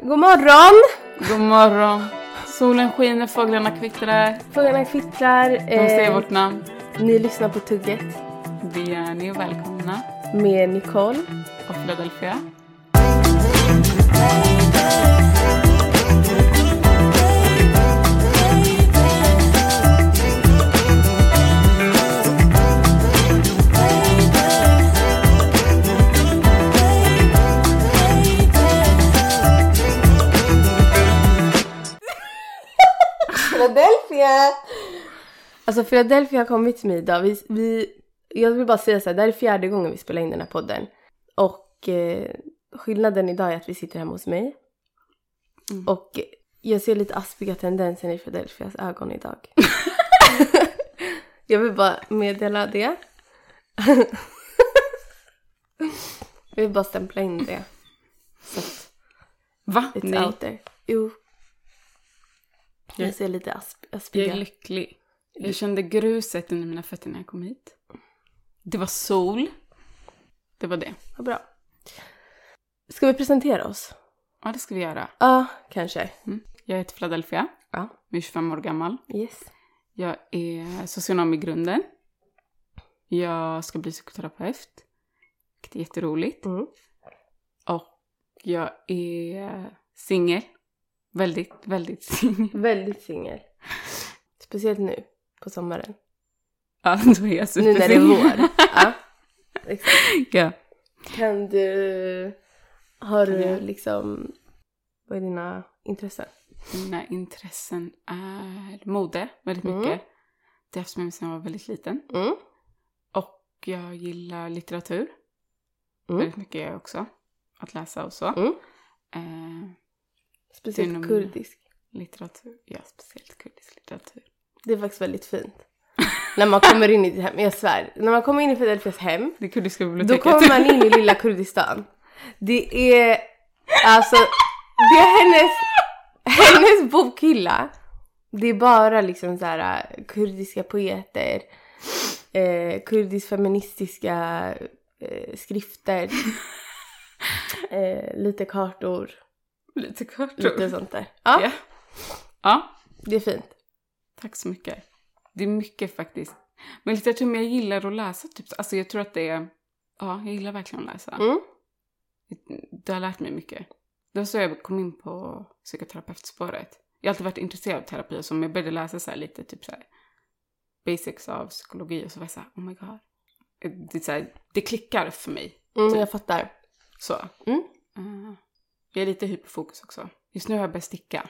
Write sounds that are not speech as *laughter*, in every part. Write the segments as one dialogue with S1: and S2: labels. S1: God morgon!
S2: God morgon. Solen skiner, fåglarna kvittrar.
S1: Fåglarna kvittrar.
S2: De säger vårt namn.
S1: eh, Ni lyssnar på Tugget
S2: Det är ni och välkomna.
S1: med Nicole.
S2: Och Philadelphia.
S1: Philadelphia! Alltså Philadelphia har kommit till mig idag. Vi, vi, jag vill bara säga så här, det här är fjärde gången vi spelar in den här podden. Och eh, skillnaden idag är att vi sitter hemma hos mig.
S2: Mm.
S1: Och jag ser lite aspiga tendenser i Philadelphias ögon idag.
S2: *laughs*
S1: jag vill bara meddela
S2: *laughs*
S1: det. jag vill bara stämpla in det. Så att
S2: Va?
S1: It's
S2: Nej.
S1: out there. Jo. Jag
S2: Jag-
S1: ser lite asp aspiga.
S2: Jag är lycklig. Jag kände gruset under mina fötter när jag kom hit. Det var sol. Det var det.
S1: Vad bra. Ska vi presentera oss?
S2: Ja, det ska vi göra. Mm.
S1: Ja, kanske.
S2: Jag heter Philadelphia.
S1: Ja.
S2: Jag är 25 år gammal.
S1: Yes.
S2: Jag är socionom i grunden. Jag ska bli psykoterapeut. Det är jätteroligt.
S1: Mm.
S2: Och jag är singel. Väldigt, väldigt *laughs* singel.
S1: Väldigt singel. Speciellt nu på sommaren.
S2: Ja, då är jag
S1: Nu när det är
S2: *laughs*
S1: vår. Ja. Exakt.
S2: ja.
S1: Kan du... Har
S2: Kan
S1: du
S2: jag?
S1: liksom... Vad är dina intressen?
S2: Mina intressen är mode väldigt mycket.
S1: Mm.
S2: Det har jag haft med mig sedan jag var väldigt liten.
S1: Mm.
S2: Och jag gillar litteratur.
S1: Mm.
S2: Väldigt mycket gör jag också. Att läsa och så.
S1: Mm.
S2: Eh,
S1: Speciellt
S2: Inom-
S1: kurdisk.
S2: litteratur, ja speciellt kurdisk litteratur.
S1: Det är faktiskt väldigt fint. när man kommer in i ditt hem, jag svär. När man kommer in i Philadelphias hem
S2: Det kurdiska
S1: Då
S2: biblioteket.
S1: kommer man in i lilla Kurdistan. Det är alltså, det är hennes, hennes bokhylla. Det är bara liksom så här eh, kurdiska poeter, eh, kurdisk feministiska eh, skrifter, eh, lite kartor,
S2: *laughs* Lite kort.
S1: lite sånt där. Ja,
S2: Ja. Ja,
S1: det är fint.
S2: Tack så mycket. Det är mycket faktiskt. Men litteratur, men jag gillar att läsa. Typ. Alltså jag tror att det är... Ja, jag gillar verkligen att läsa.
S1: Mm.
S2: Det har lärt mig mycket. Det var så jag kom in på psykoterapeutspåret. Jag har alltid varit intresserad av terapi och så, men jag började läsa så här lite typ så här basics av psykologi och så var jag så här, oh my god. Det, är så här, det klickar för mig.
S1: Mm, jag fattar.
S2: Så.
S1: Mm.
S2: Eh, jag är lite hyperfokus också. Just nu har jag börjat sticka.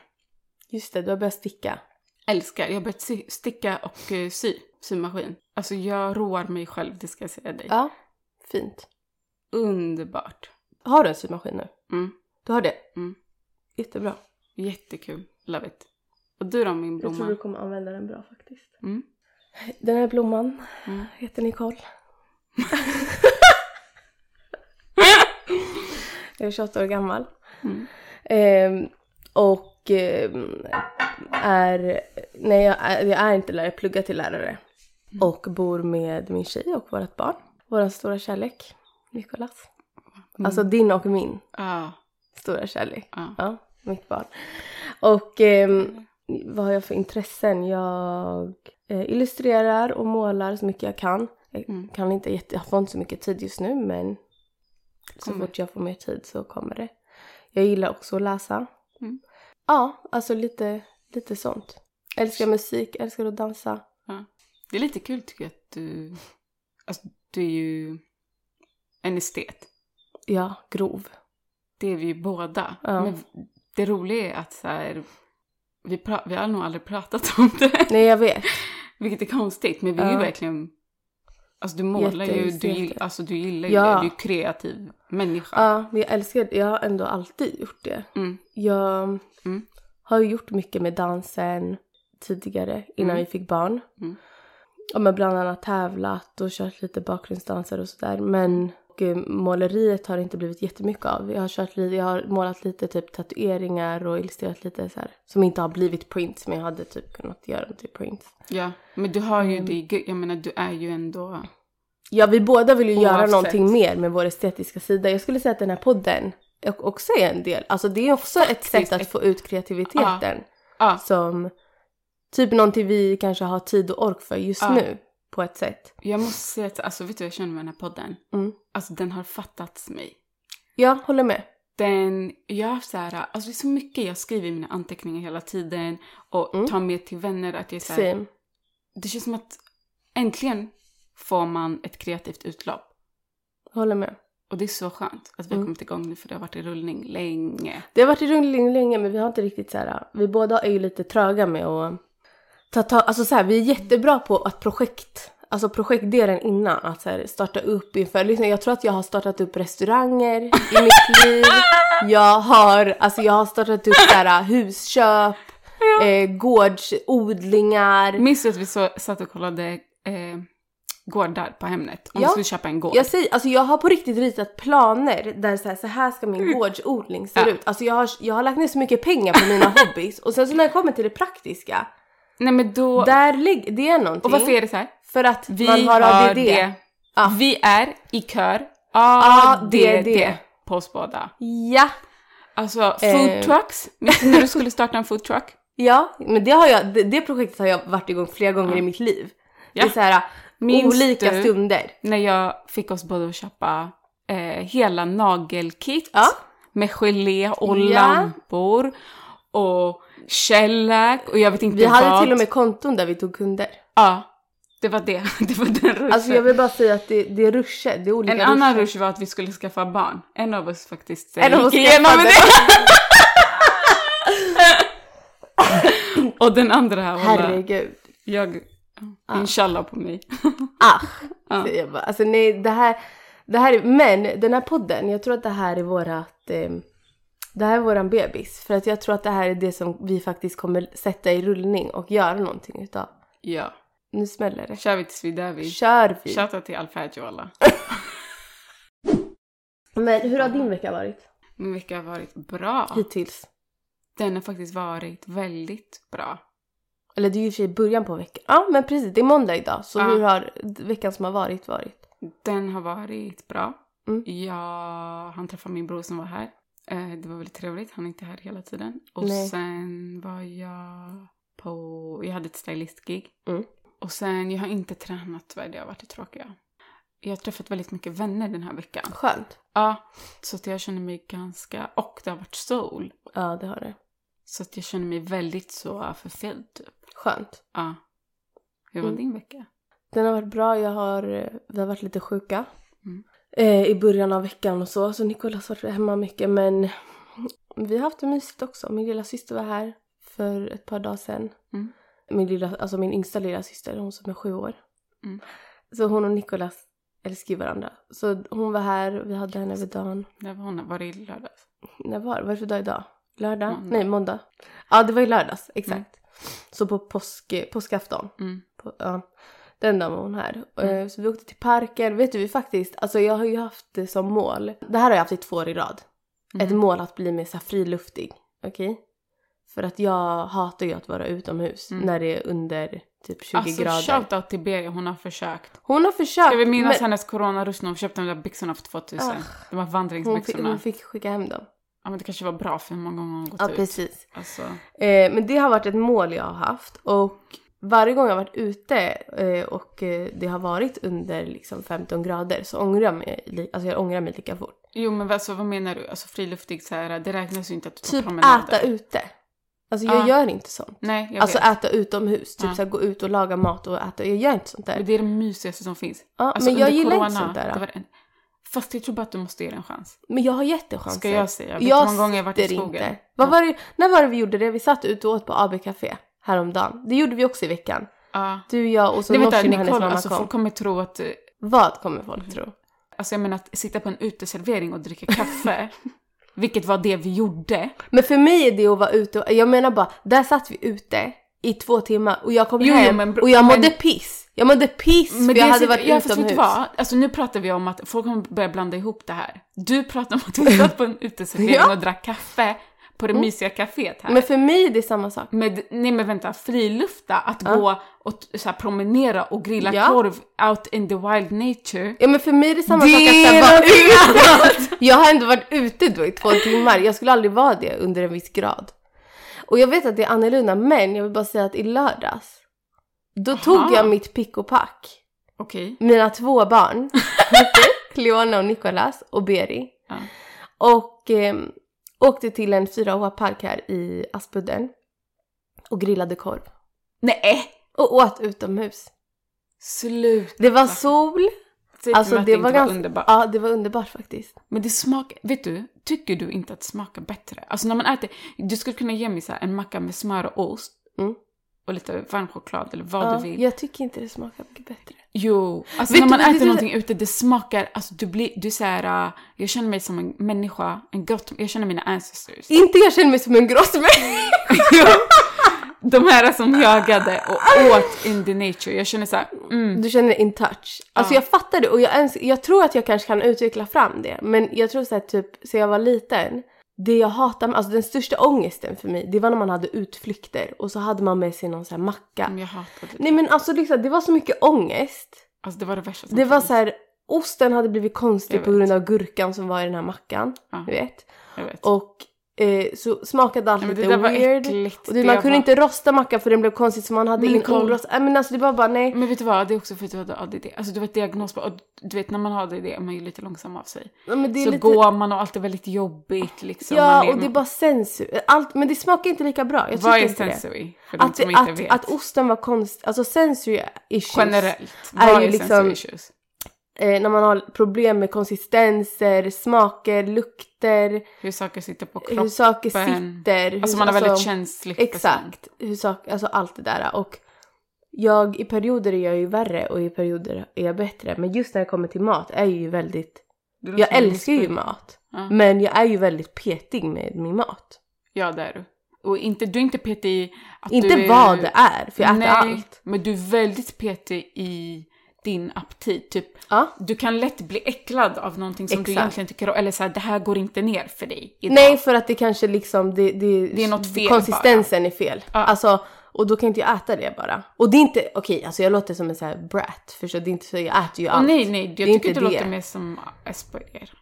S1: Just det, du har börjat sticka.
S2: älskar. Jag har börjat si- sticka och eh, sy, symaskin. Alltså jag roar mig själv, det ska jag säga dig.
S1: Ja, fint.
S2: Underbart.
S1: Har du en symaskin nu?
S2: Mm.
S1: Du har det?
S2: Mm.
S1: Jättebra.
S2: Jättekul. Love it. Och du då min
S1: Jag tror du
S2: blomma?
S1: kommer använda den bra faktiskt.
S2: Mm.
S1: Den här blomman
S2: Mm.
S1: heter
S2: *laughs*
S1: Nicole. jag är 28 år gammal.
S2: Mm.
S1: Ehm, och ehm, är, nej jag är, jag är inte lärare, jag pluggar till lärare.
S2: Mm.
S1: Och bor med min tjej och vårt barn. Vår stora kärlek, Nikolas.
S2: Mm.
S1: Alltså din och min
S2: Ja,
S1: stora kärlek.
S2: ja.
S1: Ja, mitt barn. Och ehm, vad har jag för intressen? Jag eh, illustrerar och målar så mycket jag kan. Jag,
S2: Mm.
S1: kan inte, jätte- jag får inte så mycket tid just nu men så
S2: Kommer.
S1: fort jag får mer tid så kommer det. Jag gillar också att läsa.
S2: Mm.
S1: Ja, alltså lite, lite sånt. Älskar musik, älskar att dansa.
S2: Det är lite kul tycker jag att du... Alltså du är ju en estet.
S1: Ja, grov.
S2: Det är vi ju båda.
S1: Ja.
S2: Men det roliga är att så här, vi, pra- vi har nog aldrig pratat om det.
S1: Nej, jag vet.
S2: Vilket är konstigt, men vi är ju
S1: Ja.
S2: verkligen... Alltså du målar ju,
S1: Jätte-
S2: du, gill,
S1: jätte.
S2: alltså, du gillar ju
S1: Ja.
S2: det, du är ju kreativ människa.
S1: Ja, men jag älskar Jag har ändå alltid gjort det.
S2: Mm.
S1: Jag
S2: Mm.
S1: har ju gjort mycket med dansen tidigare innan
S2: Mm.
S1: vi fick barn.
S2: Mm.
S1: Ja, men bland annat tävlat och kört lite bakgrundsdanser och sådär. Men och, eh, måleriet har det inte blivit jättemycket av. Jag har, kört, li- jag har målat lite typ tatueringar och illustrerat lite så här, som inte har blivit prints men jag hade typ kunnat göra dem till prints.
S2: Ja, men du har ju
S1: Mm.
S2: det, i gu- jag menar du är ju ändå...
S1: Ja, vi båda vill ju göra
S2: Oavsett.
S1: någonting mer med vår estetiska sida. Jag skulle säga att den här podden och också är en del. Alltså det är också ett
S2: Faktiskt.
S1: sätt att få ut kreativiteten.
S2: Ja.
S1: Som typ någonting vi kanske har tid och ork för just
S2: Ja.
S1: nu på ett sätt.
S2: Jag måste säga att, alltså vet du vad jag känner med den här podden?
S1: Mm.
S2: Alltså den har fattats mig.
S1: Jag håller med.
S2: Den, jag har haft så här, alltså det är så mycket jag skriver i mina anteckningar hela tiden och
S1: Mm.
S2: tar med till vänner att jag är så här,
S1: Same.
S2: det känns som att äntligen får man ett kreativt utlopp.
S1: Håller med.
S2: Och det är så skönt att vi har
S1: Mm.
S2: kommit igång nu för det har varit i rullning länge.
S1: Det har varit i rullning länge men vi har inte riktigt så här. vi båda är ju lite tröga med att ta tag, alltså så här, vi är jättebra på att projekt, alltså projektdelen innan, att så här, starta upp inför, liksom, jag tror att jag har startat upp restauranger i
S2: *laughs*
S1: mitt liv, jag har, alltså jag har startat upp så här, husköp, eh, gårdsodlingar.
S2: Minns du att vi så, satt och kollade eh, gårdar på Hemnet? Om
S1: Ja.
S2: vi skulle köpa en gård.
S1: Jag säger, alltså jag har på riktigt ritat planer där så här, så här ska min gårdsodling se
S2: Mm. Ja.
S1: ut. Alltså jag har, jag har lagt ner så mycket pengar på
S2: *laughs*
S1: mina hobbies och sen så när jag kommer till det praktiska
S2: Nej men då...
S1: Där ligger, det är någonting.
S2: och varför är det så här?
S1: För att
S2: Vi
S1: man har ADD. Ja.
S2: Vi är i kör
S1: ADD.
S2: ADD på oss båda.
S1: Ja.
S2: Alltså
S1: Eh.
S2: food trucks. Minns du när du skulle starta en food truck?
S1: Ja, men det, har jag, det, det projektet har jag varit igång flera gånger
S2: Ja.
S1: i mitt liv. Det
S2: Ja.
S1: är så här,
S2: Minns
S1: olika
S2: du?
S1: stunder.
S2: När jag fick oss båda att köpa eh, hela nagelkit
S1: Ja.
S2: med gelé och
S1: Ja.
S2: lampor och shellac och jag vet inte
S1: Vi
S2: vad.
S1: hade till och med konton där vi tog kunder.
S2: Ja, det var det. *laughs* Det var den ruschen.
S1: Alltså jag vill bara säga att det, det är ruscher, det är olika
S2: en annan
S1: ruscher.
S2: rush var att vi skulle skaffa barn. En av oss faktiskt eh,
S1: En av
S2: *laughs* gick
S1: oss
S2: igenom
S1: skaffade.
S2: det. Och den andra här var bara,
S1: Herregud.
S2: jag... Inshallah på mig.
S1: Ah.
S2: Ja.
S1: Så jag bara, alltså nej, det här, det här är, men den här podden, jag tror att det här är vårat, eh, det här är våran bebis. För att jag tror att det här är det som vi faktiskt kommer sätta i rullning och göra någonting utav.
S2: Ja.
S1: Nu smäller det.
S2: Kör vi tills vi dör vi.
S1: Kör vi!
S2: Shoutout till Alfred och alla.
S1: Men hur har din vecka varit?
S2: Min vecka har varit bra.
S1: Hittills.
S2: Den har faktiskt varit väldigt bra.
S1: Eller det är ju i och för sig början på veckan. Ja men precis, det är måndag idag. Så
S2: Ja.
S1: hur har veckan som har varit varit?
S2: Den har varit bra.
S1: Mm.
S2: Jag han träffade min bror som var här. Eh, Det var väldigt trevligt. Han är inte här hela tiden. Och
S1: Nej.
S2: sen var jag på... Jag hade ett stylistgig.
S1: Mm.
S2: Och sen, jag har inte tränat tyvärr. Det har varit det tråkiga. Jag har träffat väldigt mycket vänner den här veckan.
S1: Skönt.
S2: Ja, så att jag känner mig ganska... Och det har varit sol.
S1: Ja det har det.
S2: Så att jag känner mig väldigt så förföljd typ.
S1: Skönt.
S2: Ja. Hur var
S1: Mm.
S2: din vecka?
S1: Den har varit bra, jag har, eh, vi har varit lite sjuka.
S2: Mm.
S1: Eh, I början av veckan och så. Så Nicolas har varit hemma mycket men vi har haft det mysigt också. Min lilla syster var här för ett par dagar sedan.
S2: Mm.
S1: Min, lilla, alltså min yngsta lilla syster, hon som är sju år.
S2: Mm.
S1: Så hon och Nicolas älskar ju varandra. Så hon var här, vi hade henne över dagen.
S2: Där var hon. Var det i lördags?
S1: När var det? Vad är det för dag idag? Lördag?
S2: Måndag.
S1: Nej, måndag. Ja, det var i lördags. Exakt.
S2: Mm.
S1: Så på påsk, påskafton.
S2: Mm.
S1: På, ja. Den dagen var hon här.
S2: Mm.
S1: Eh, Så vi åkte till parken. Vet du, vi faktiskt, alltså jag har ju haft det som mål. Det här har jag haft i två år i rad.
S2: Mm.
S1: Ett mål att bli mer så här friluftig. Okej? För att jag hatar ju att vara utomhus
S2: Mm.
S1: när det är under typ 20
S2: Alltså
S1: grader.
S2: shoutout till Berg, hon har försökt.
S1: Hon har försökt.
S2: Ska vi minnas
S1: men
S2: hennes coronarush när hon köpte de där byxorna för 2000?
S1: Ah.
S2: De här
S1: hon, fick,
S2: vandringsbyxorna.
S1: hon fick skicka hem dem.
S2: Ja men det kanske var bra för hur många gånger hon gått
S1: Ja,
S2: ut.
S1: precis.
S2: Alltså,
S1: Eh, men det har varit ett mål jag har haft och varje gång jag har varit ute eh, och eh, det har varit under liksom 15 grader så ångrar jag mig, li- alltså jag ångrar mig lika fort.
S2: jo men alltså, vad menar du? Alltså friluftig så här, det räknas ju inte att du tar
S1: Typ
S2: promenader.
S1: äta ute. Alltså jag
S2: Ah.
S1: gör inte sånt.
S2: Nej jag
S1: Alltså
S2: vet.
S1: äta utomhus, typ
S2: Ah.
S1: så här, gå ut och laga mat och äta. Jag gör inte sånt där.
S2: Men det är det mysigaste som finns.
S1: Ja,
S2: Alltså,
S1: men jag
S2: under
S1: gillar
S2: corona,
S1: inte sånt där.
S2: det var en... Fast jag tror bara att du måste ge det en chans.
S1: Men jag har gett det chansen.
S2: Ska jag säga. Vet du hur
S1: Jag
S2: många gånger jag har varit i
S1: sitter
S2: skogen?
S1: inte. Vad var det, när var det vi gjorde det? Vi satt ute och åt på AB Café häromdagen. Det gjorde vi också i veckan.
S2: Ja.
S1: Du, jag och så
S2: Nej vänta
S1: Nooshi när hennes
S2: Nicole,
S1: mamma
S2: alltså
S1: kom.
S2: folk kommer tro att... eh,
S1: Vad kommer folk tro?
S2: Alltså jag menar att sitta på en uteservering och dricka kaffe.
S1: *laughs*
S2: vilket var det vi gjorde.
S1: Men för mig är det att vara ute och, jag menar bara, där satt vi ute i två timmar och jag kom
S2: Jo, jo,
S1: hem
S2: men bro-
S1: och jag mådde
S2: men-
S1: piss. Jag mådde piss för jag hade
S2: sitter-
S1: varit
S2: ja, fast vet du
S1: utomhus.
S2: vad? Alltså nu pratar vi om att folk kommer börja blanda ihop det här. Du pratar om att vi satt på en
S1: *laughs*
S2: uteservering
S1: Ja. Mm.
S2: och drack kaffe på det mysiga kaféet här.
S1: Men för mig är det samma sak.
S2: Med, nej men vänta, frilufta, att
S1: Ja.
S2: gå och t- så här, promenera och grilla
S1: Ja.
S2: korv out in the wild nature.
S1: Ja men för mig är det samma
S2: Det
S1: sak *laughs*
S2: är
S1: att så här,
S2: någonting
S1: vara ute. Jag har ändå varit ute då i två timmar. Jag skulle aldrig vara det under en viss grad. Och jag vet att det är annorlunda men jag vill bara säga att i lördags då tog
S2: Aha.
S1: jag mitt pick och pack.
S2: Okej.
S1: Mina två
S2: *laughs*
S1: barn, Cleona och Nicolas och Beri.
S2: Ja.
S1: Och eh, åkte till en 4H-park här i Aspudden och grillade korv.
S2: Nej!
S1: Och åt utomhus.
S2: Sluta!
S1: Det var sol,
S2: Säg
S1: Alltså,
S2: till mig att
S1: det
S2: det inte
S1: var
S2: var,
S1: ganska-
S2: underbart.
S1: ja det var underbart faktiskt.
S2: Men det smakar, vet du, tycker du inte att det smakar bättre? Alltså när man äter, du skulle kunna ge mig så här en macka med smör och ost
S1: Mm.
S2: och lite varm choklad eller vad
S1: Ja,
S2: du vill.
S1: jag tycker inte det smakar mycket bättre.
S2: Jo, alltså
S1: Vet
S2: när
S1: du
S2: man
S1: vad det-
S2: äter
S1: det-
S2: någonting ute, det smakar, alltså du blir, du är så här, äh, jag känner mig som en människa, en gott, jag känner mina ancestors.
S1: Inte jag känner mig som en gross människa.
S2: *laughs* De här som jagade och åt in the nature, jag känner så här, mm,
S1: Du känner in touch. Alltså
S2: Ja.
S1: jag fattar det och jag, ens, jag tror att jag kanske kan utveckla fram det. Men jag tror såhär typ, så jag var liten. Det jag hatade, alltså den största ångesten för mig, det var när man hade utflykter och så hade man med sig någon sån här macka.
S2: jag hatade det.
S1: Nej men alltså liksom, det var så mycket ångest.
S2: Alltså det var det värsta som
S1: Det var
S2: fanns.
S1: så här, osten hade blivit
S2: Jag
S1: konstig
S2: vet.
S1: på grund av gurkan som var i den här mackan.
S2: Ja.
S1: Du vet.
S2: jag vet.
S1: Och eh, så smakade allt
S2: Nej, men det
S1: lite
S2: där var
S1: weird.
S2: äckligt.
S1: Och du,
S2: Det
S1: man
S2: var-
S1: kunde inte rosta mackan för den blev konstigt så man hade
S2: Men
S1: in
S2: Nicole-
S1: orost. Nej men alltså det var bara nej.
S2: Men vet du vad, det är också för att du hade ADD. Alltså du vet diagnos på, och du vet när man har ADD är man ju lite långsam av sig.
S1: Ja, Men det är
S2: Så
S1: lite...
S2: går man och allt är väldigt jobbigt liksom. man
S1: Ja och det är bara sensu. Allt, men det smakar inte lika bra. Jag
S2: Vad
S1: tycker
S2: är
S1: inte det.
S2: sensory? För de
S1: Att,
S2: som inte
S1: att,
S2: vet.
S1: att osten var konstig, alltså sensory issues.
S2: Generellt,
S1: är
S2: vad
S1: ju
S2: är,
S1: liksom-
S2: sensory issues?
S1: Eh, när man har problem med konsistenser, smaker, lukter,
S2: Hur saker sitter på
S1: hur
S2: kroppen.
S1: saker sitter. Hur,
S2: Alltså man är väldigt känslig person.
S1: Exakt. Hur sak, alltså allt det där. Och jag, i perioder är jag ju värre och i perioder är jag bättre. Men just när det kommer till mat är jag ju väldigt...
S2: Alltså, Det låter
S1: Jag
S2: som en
S1: älskar ju
S2: missbruk.
S1: mat.
S2: Ja.
S1: Men jag är ju väldigt petig med min mat.
S2: Ja, det är du. Och inte, du är inte petig i att
S1: Inte
S2: du är...
S1: vad det är, för jag äter
S2: Nej,
S1: allt.
S2: men du är väldigt petig i din aptit. Typ,
S1: Ja.
S2: du kan lätt bli äcklad av någonting som du
S1: Exakt.
S2: egentligen tycker om. Eller så här, det här går inte ner för dig idag.
S1: Nej, för att det kanske liksom... Det, det,
S2: Det är något fel
S1: Konsistensen är fel.
S2: Ja.
S1: Alltså, och då kan inte jag äta det bara. Och det är inte... Okej, alltså jag låter som en sån här brat. Förstår du? Det är inte så jag äter ju
S2: Och
S1: allt.
S2: nej, nej, jag
S1: Det är
S2: tycker
S1: inte
S2: inte du
S1: det.
S2: låter mer som SPR.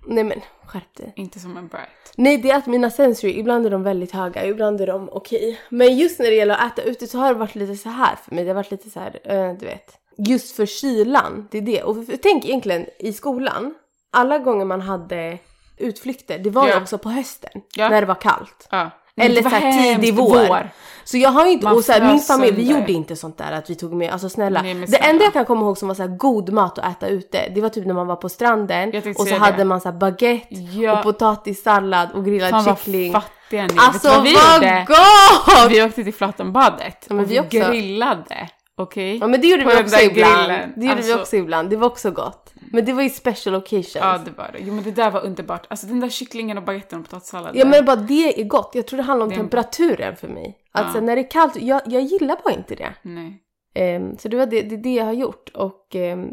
S1: nej men skärp dig.
S2: Inte som en bright.
S1: Nej, det är att mina sensory, ibland är de väldigt höga, ibland är de okej. Men just när det gäller att äta ute så har det varit lite så här för mig. Det har varit lite så här, eh, du vet. Just för kylan, det är det. Och för, tänk egentligen i skolan, alla gånger man hade utflykter, det var ju
S2: Ja.
S1: också på hösten
S2: Ja.
S1: när det var kallt.
S2: Ja.
S1: Eller
S2: Det var
S1: så här tidig
S2: hemskt,
S1: vår. Så jag har ju inte,
S2: Man
S1: och så här, min
S2: frös
S1: familj, vi
S2: sönder.
S1: gjorde inte sånt där att vi tog med, alltså snälla.
S2: Nej, men
S1: det
S2: snälla.
S1: enda jag kan komma ihåg som var så här god mat att äta ute, det var typ när man var på stranden
S2: Jag tänkte
S1: och så
S2: säga
S1: hade
S2: det.
S1: man så här baguette
S2: Ja.
S1: och potatissallad och grillad
S2: Fan vad
S1: kyckling.
S2: fattiga ni är.
S1: Alltså
S2: Vet
S1: vad,
S2: du vad vi gjorde?
S1: gott!
S2: Vi åkte till Flatenbadet
S1: men
S2: och
S1: vi
S2: vi
S1: också.
S2: grillade. Okej?
S1: Ja men det gjorde
S2: På
S1: vi
S2: den
S1: också
S2: där
S1: ibland.
S2: grillen.
S1: Det gjorde vi
S2: Alltså-
S1: också ibland, det var också gott. Men det var ju special occasions.
S2: Ja,
S1: Ja,
S2: det var det. Jo, men det där var underbart. Alltså den där kycklingen och baguetten och potatissalladen.
S1: men bara det är gott, jag tror det handlar om
S2: Det är-
S1: temperaturen för mig. Att
S2: Ja.
S1: sen när det är kallt, jag, jag gillar bara inte det.
S2: Nej.
S1: Ehm, så det var det, det, är det jag har gjort och ehm,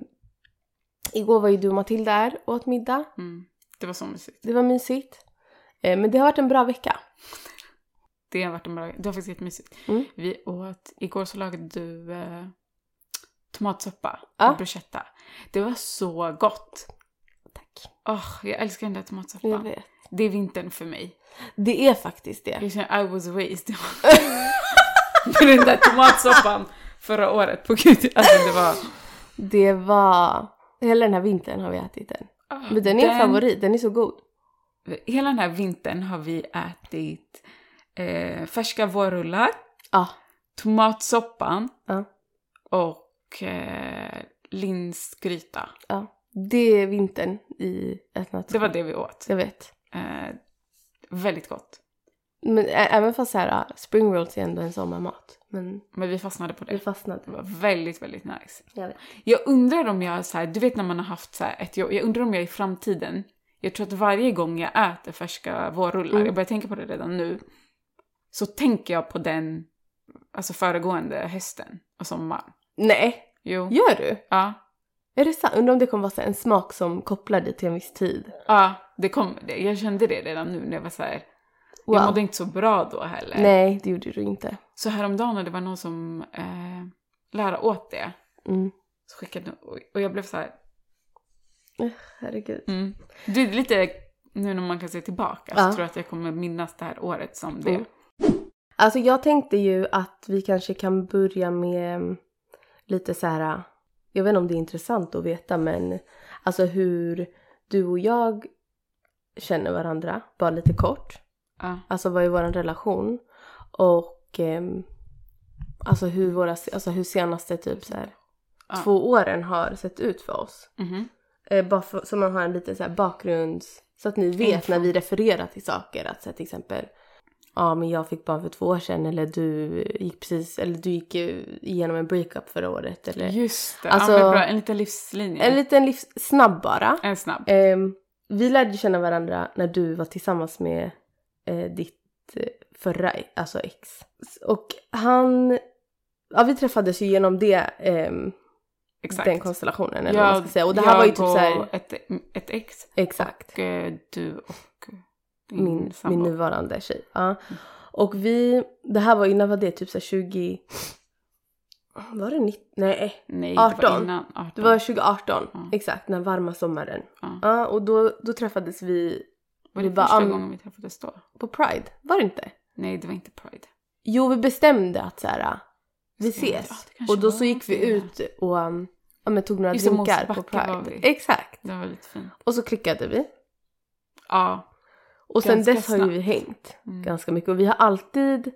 S1: igår var ju du och Matilda här och åt middag.
S2: Mm. Det var så mysigt.
S1: Det var mysigt. Ehm, men det har varit en bra vecka.
S2: Det har varit en bra... Det var faktiskt jättemysigt.
S1: Mm.
S2: Vi åt... Igår så lagade du eh, tomatsoppa
S1: Ja.
S2: och bruschetta. Det var så gott.
S1: Tack.
S2: Åh, jag älskar den där
S1: Jag
S2: tomatsoppan.
S1: vet.
S2: Det är vintern för mig.
S1: Det är faktiskt det.
S2: Jag känner I was raised *laughs* med den där tomatsoppan förra året. På gud, alltså det var...
S1: Det var... Hela den här vintern har vi ätit den. Men den är en favorit, den är så god.
S2: Ah, Hela den här vintern har vi ätit eh, färska vårrullar,
S1: Ja.
S2: tomatsoppan
S1: Ja.
S2: och eh, linsgryta.
S1: ja. Det är vintern i ett nötskal.
S2: Det var det vi åt.
S1: Jag vet.
S2: Eh, väldigt gott.
S1: Men ä- även fast så här, ja, spring rolls är ändå en sommarmat. Men
S2: Men vi fastnade på
S1: vi
S2: det. Det
S1: fastnade.
S2: var väldigt, väldigt nice.
S1: Jag vet.
S2: Jag undrar om jag, så här, du vet när man har haft så här ett jobb, jag undrar om jag i framtiden, jag tror att varje gång jag äter färska vårrullar,
S1: Mm.
S2: jag börjar tänka på det redan nu, så tänker jag på den, alltså föregående hösten och sommaren.
S1: Nej,
S2: Jo.
S1: gör du?
S2: Ja.
S1: Är det sant? Undrar om det kommer vara så här en smak som kopplar dig till en viss tid.
S2: Ja, det kom, det- jag kände det redan nu när jag var så här.
S1: Wow.
S2: Jag mådde inte så bra då heller.
S1: Nej, det gjorde du inte.
S2: Så häromdagen när det var någon som eh, lärde åt det,
S1: Mm.
S2: så skickade och- och jag blev så här.
S1: Herregud.
S2: Mm. Det är lite nu när man kan se tillbaka
S1: Ja.
S2: så tror jag att jag kommer minnas det här året som det.
S1: Mm. Alltså jag tänkte ju att vi kanske kan börja med mm, lite så här. äh, Jag vet inte om det är intressant att veta men alltså hur du och jag känner varandra. Bara lite kort.
S2: Ja.
S1: Alltså vad är vår relation? Och ehm, alltså hur våra, alltså hur senaste typ så här
S2: Ja.
S1: två åren har sett ut för oss.
S2: Mhm.
S1: Eh, bara för, så man har en liten så här bakgrunds... Så att ni vet när vi refererar till saker att så här, till exempel ja men jag fick barn för två år sedan eller du gick precis eller du gick eh, igenom en breakup förra året eller
S2: Just det,
S1: Alltså-
S2: ja, men bra. en liten livslinje.
S1: en liten livs... snabb bara.
S2: En snabb.
S1: Ehm, vi lärde ju känna varandra när du var tillsammans med eh, ditt eh, förra alltså ex. Och han, ja vi träffades ju genom det, ehm,
S2: Exakt.
S1: den konstellationen eller vad man ska säga. Och det här
S2: jag
S1: var ju typ
S2: och
S1: såhär,
S2: Ett, ett ex
S1: exakt.
S2: och eh, du och din
S1: min, min
S2: sambo.
S1: nuvarande tjej. Ja. Och vi, det här var innan, var det typ så här 20... Var det 19? Nej,
S2: Nej, det
S1: 18.
S2: var innan 18.
S1: det var 2018.
S2: Ja.
S1: Exakt, den varma sommaren.
S2: Ja.
S1: Ja, och då, då träffades vi
S2: Var det
S1: vi bara,
S2: första
S1: ah,
S2: gången vi träffades då?
S1: på Pride, var det inte?
S2: Nej, det var inte Pride.
S1: Jo, vi bestämde att så här, "Ah, vi
S2: Stämmer, ja,
S1: ses.
S2: det kanske
S1: och då
S2: var
S1: så gick vi
S2: det.
S1: ut och um, ja, men tog några
S2: Just det,
S1: drinkar på
S2: Mosebacke var
S1: Pride.
S2: vi.
S1: Exakt.
S2: Det var lite fint.
S1: Och så klickade vi.
S2: Ja,
S1: Och sen
S2: Ganska
S1: dess har ju vi hängt
S2: Mm.
S1: ganska mycket och vi har alltid,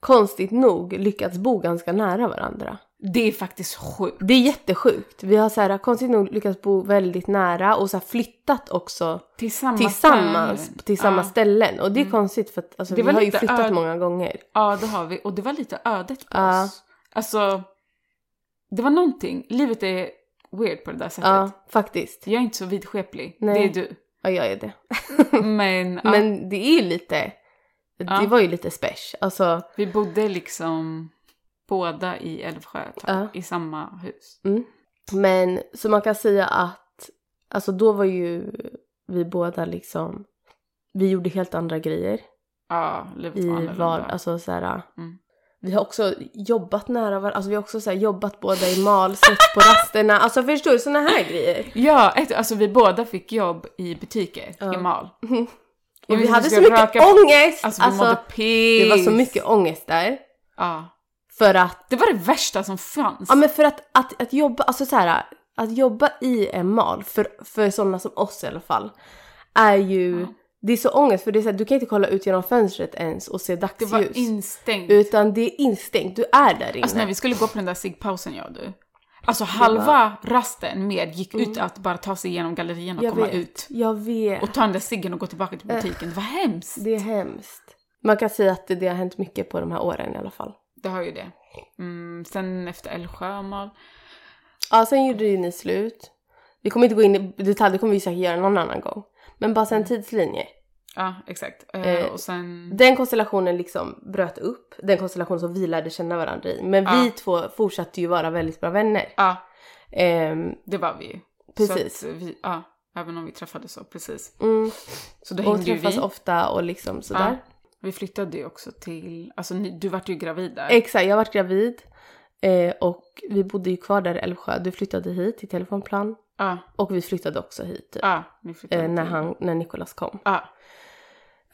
S1: konstigt nog, lyckats bo ganska nära varandra.
S2: det är faktiskt sjukt.
S1: Det är jättesjukt. Vi har så här, konstigt nog lyckats bo väldigt nära och så här flyttat också
S2: Till samma
S1: tillsammans
S2: ställe.
S1: till samma
S2: ja.
S1: ställen. Och det är
S2: Mm.
S1: konstigt för att alltså,
S2: Det
S1: vi
S2: var
S1: har ju
S2: lite
S1: flyttat
S2: öd-
S1: många gånger.
S2: Ja, det har vi. Och det var lite ödet på
S1: Ja.
S2: oss. Alltså, det var någonting. Livet är weird på det där sättet.
S1: Ja, faktiskt.
S2: Jag är inte så vidskeplig.
S1: Nej.
S2: Det
S1: *laughs*
S2: är du.
S1: Ja, jag är det.
S2: Men, ja,
S1: Men det är ju lite, det
S2: Ja.
S1: var ju lite special. Alltså,
S2: vi bodde liksom båda i Älvsjö ett tag,
S1: Ja.
S2: i samma hus.
S1: men så man kan säga att, alltså då var ju vi båda liksom, vi gjorde helt andra grejer.
S2: Ja, livet
S1: i
S2: var annorlunda.
S1: var, alltså så här,
S2: Mm.
S1: Vi har också jobbat nära varandra, alltså vi har också så här, jobbat båda i mal, sett på rasterna, alltså förstår du såna
S2: *laughs*
S1: här grejer?
S2: Ja, ett, alltså vi båda fick jobb i butiker
S1: Ja.
S2: i mal.
S1: Och vi
S2: Jag visste
S1: hade
S2: vi
S1: så
S2: skulle
S1: mycket
S2: röka-
S1: ångest!
S2: Alltså
S1: Alltså,
S2: vi mådde piss.
S1: det var så mycket ångest där.
S2: Ja.
S1: För att,
S2: Det var det värsta som fanns.
S1: ja men för att, att, att jobba, alltså så här, att jobba i en mal, för, för sådana som oss i alla fall, är ju,
S2: Ja.
S1: det är så ångest för det är så här, du kan inte kolla ut genom fönstret ens och se
S2: det
S1: dagsljus.
S2: var instängt.
S1: utan det är instängt, du är där inne.
S2: Alltså när vi skulle gå på den där ciggpausen jag och du. Alltså halva rasten med gick ut att bara ta sig igenom gallerierna och
S1: Mm. jag
S2: komma
S1: vet, Eh.
S2: ut.
S1: Jag vet.
S2: Och ta den där ciggen och gå tillbaka till butiken. Det var hemskt.
S1: Det är hemskt. Man kan säga att det, det har hänt mycket på de här åren i alla fall.
S2: Det har ju det. Mm, sen efter Älvsjö och mal.
S1: Ja, sen gjorde ju ni slut. Vi kommer inte gå in i detalj, det kommer vi säkert göra någon annan gång. Men bara så
S2: Mm.
S1: en tidslinje.
S2: Ja, exakt. Eh,
S1: Eh,
S2: och sen...
S1: Den konstellationen liksom bröt upp. Den konstellation som vi lärde känna varandra i. Men vi
S2: Ja.
S1: två fortsatte ju vara väldigt bra vänner.
S2: Ja,
S1: Ehm,
S2: det var vi ju.
S1: Precis.
S2: Så att vi, ja, även om vi träffades så, precis.
S1: mm,
S2: Så då
S1: och
S2: hängde ju
S1: träffas
S2: vi.
S1: ofta och liksom sådär.
S2: Vi flyttade ju också till, alltså ni, du vart ju gravid där.
S1: Exakt, jag vart gravid. Eh, och vi bodde ju kvar där i Älvsjö. Du flyttade hit till Telefonplan.
S2: Ja,
S1: Och vi flyttade också hit typ,
S2: ja, ni flyttade
S1: eh, när,
S2: till-
S1: han, när Nicolas kom.
S2: Ja,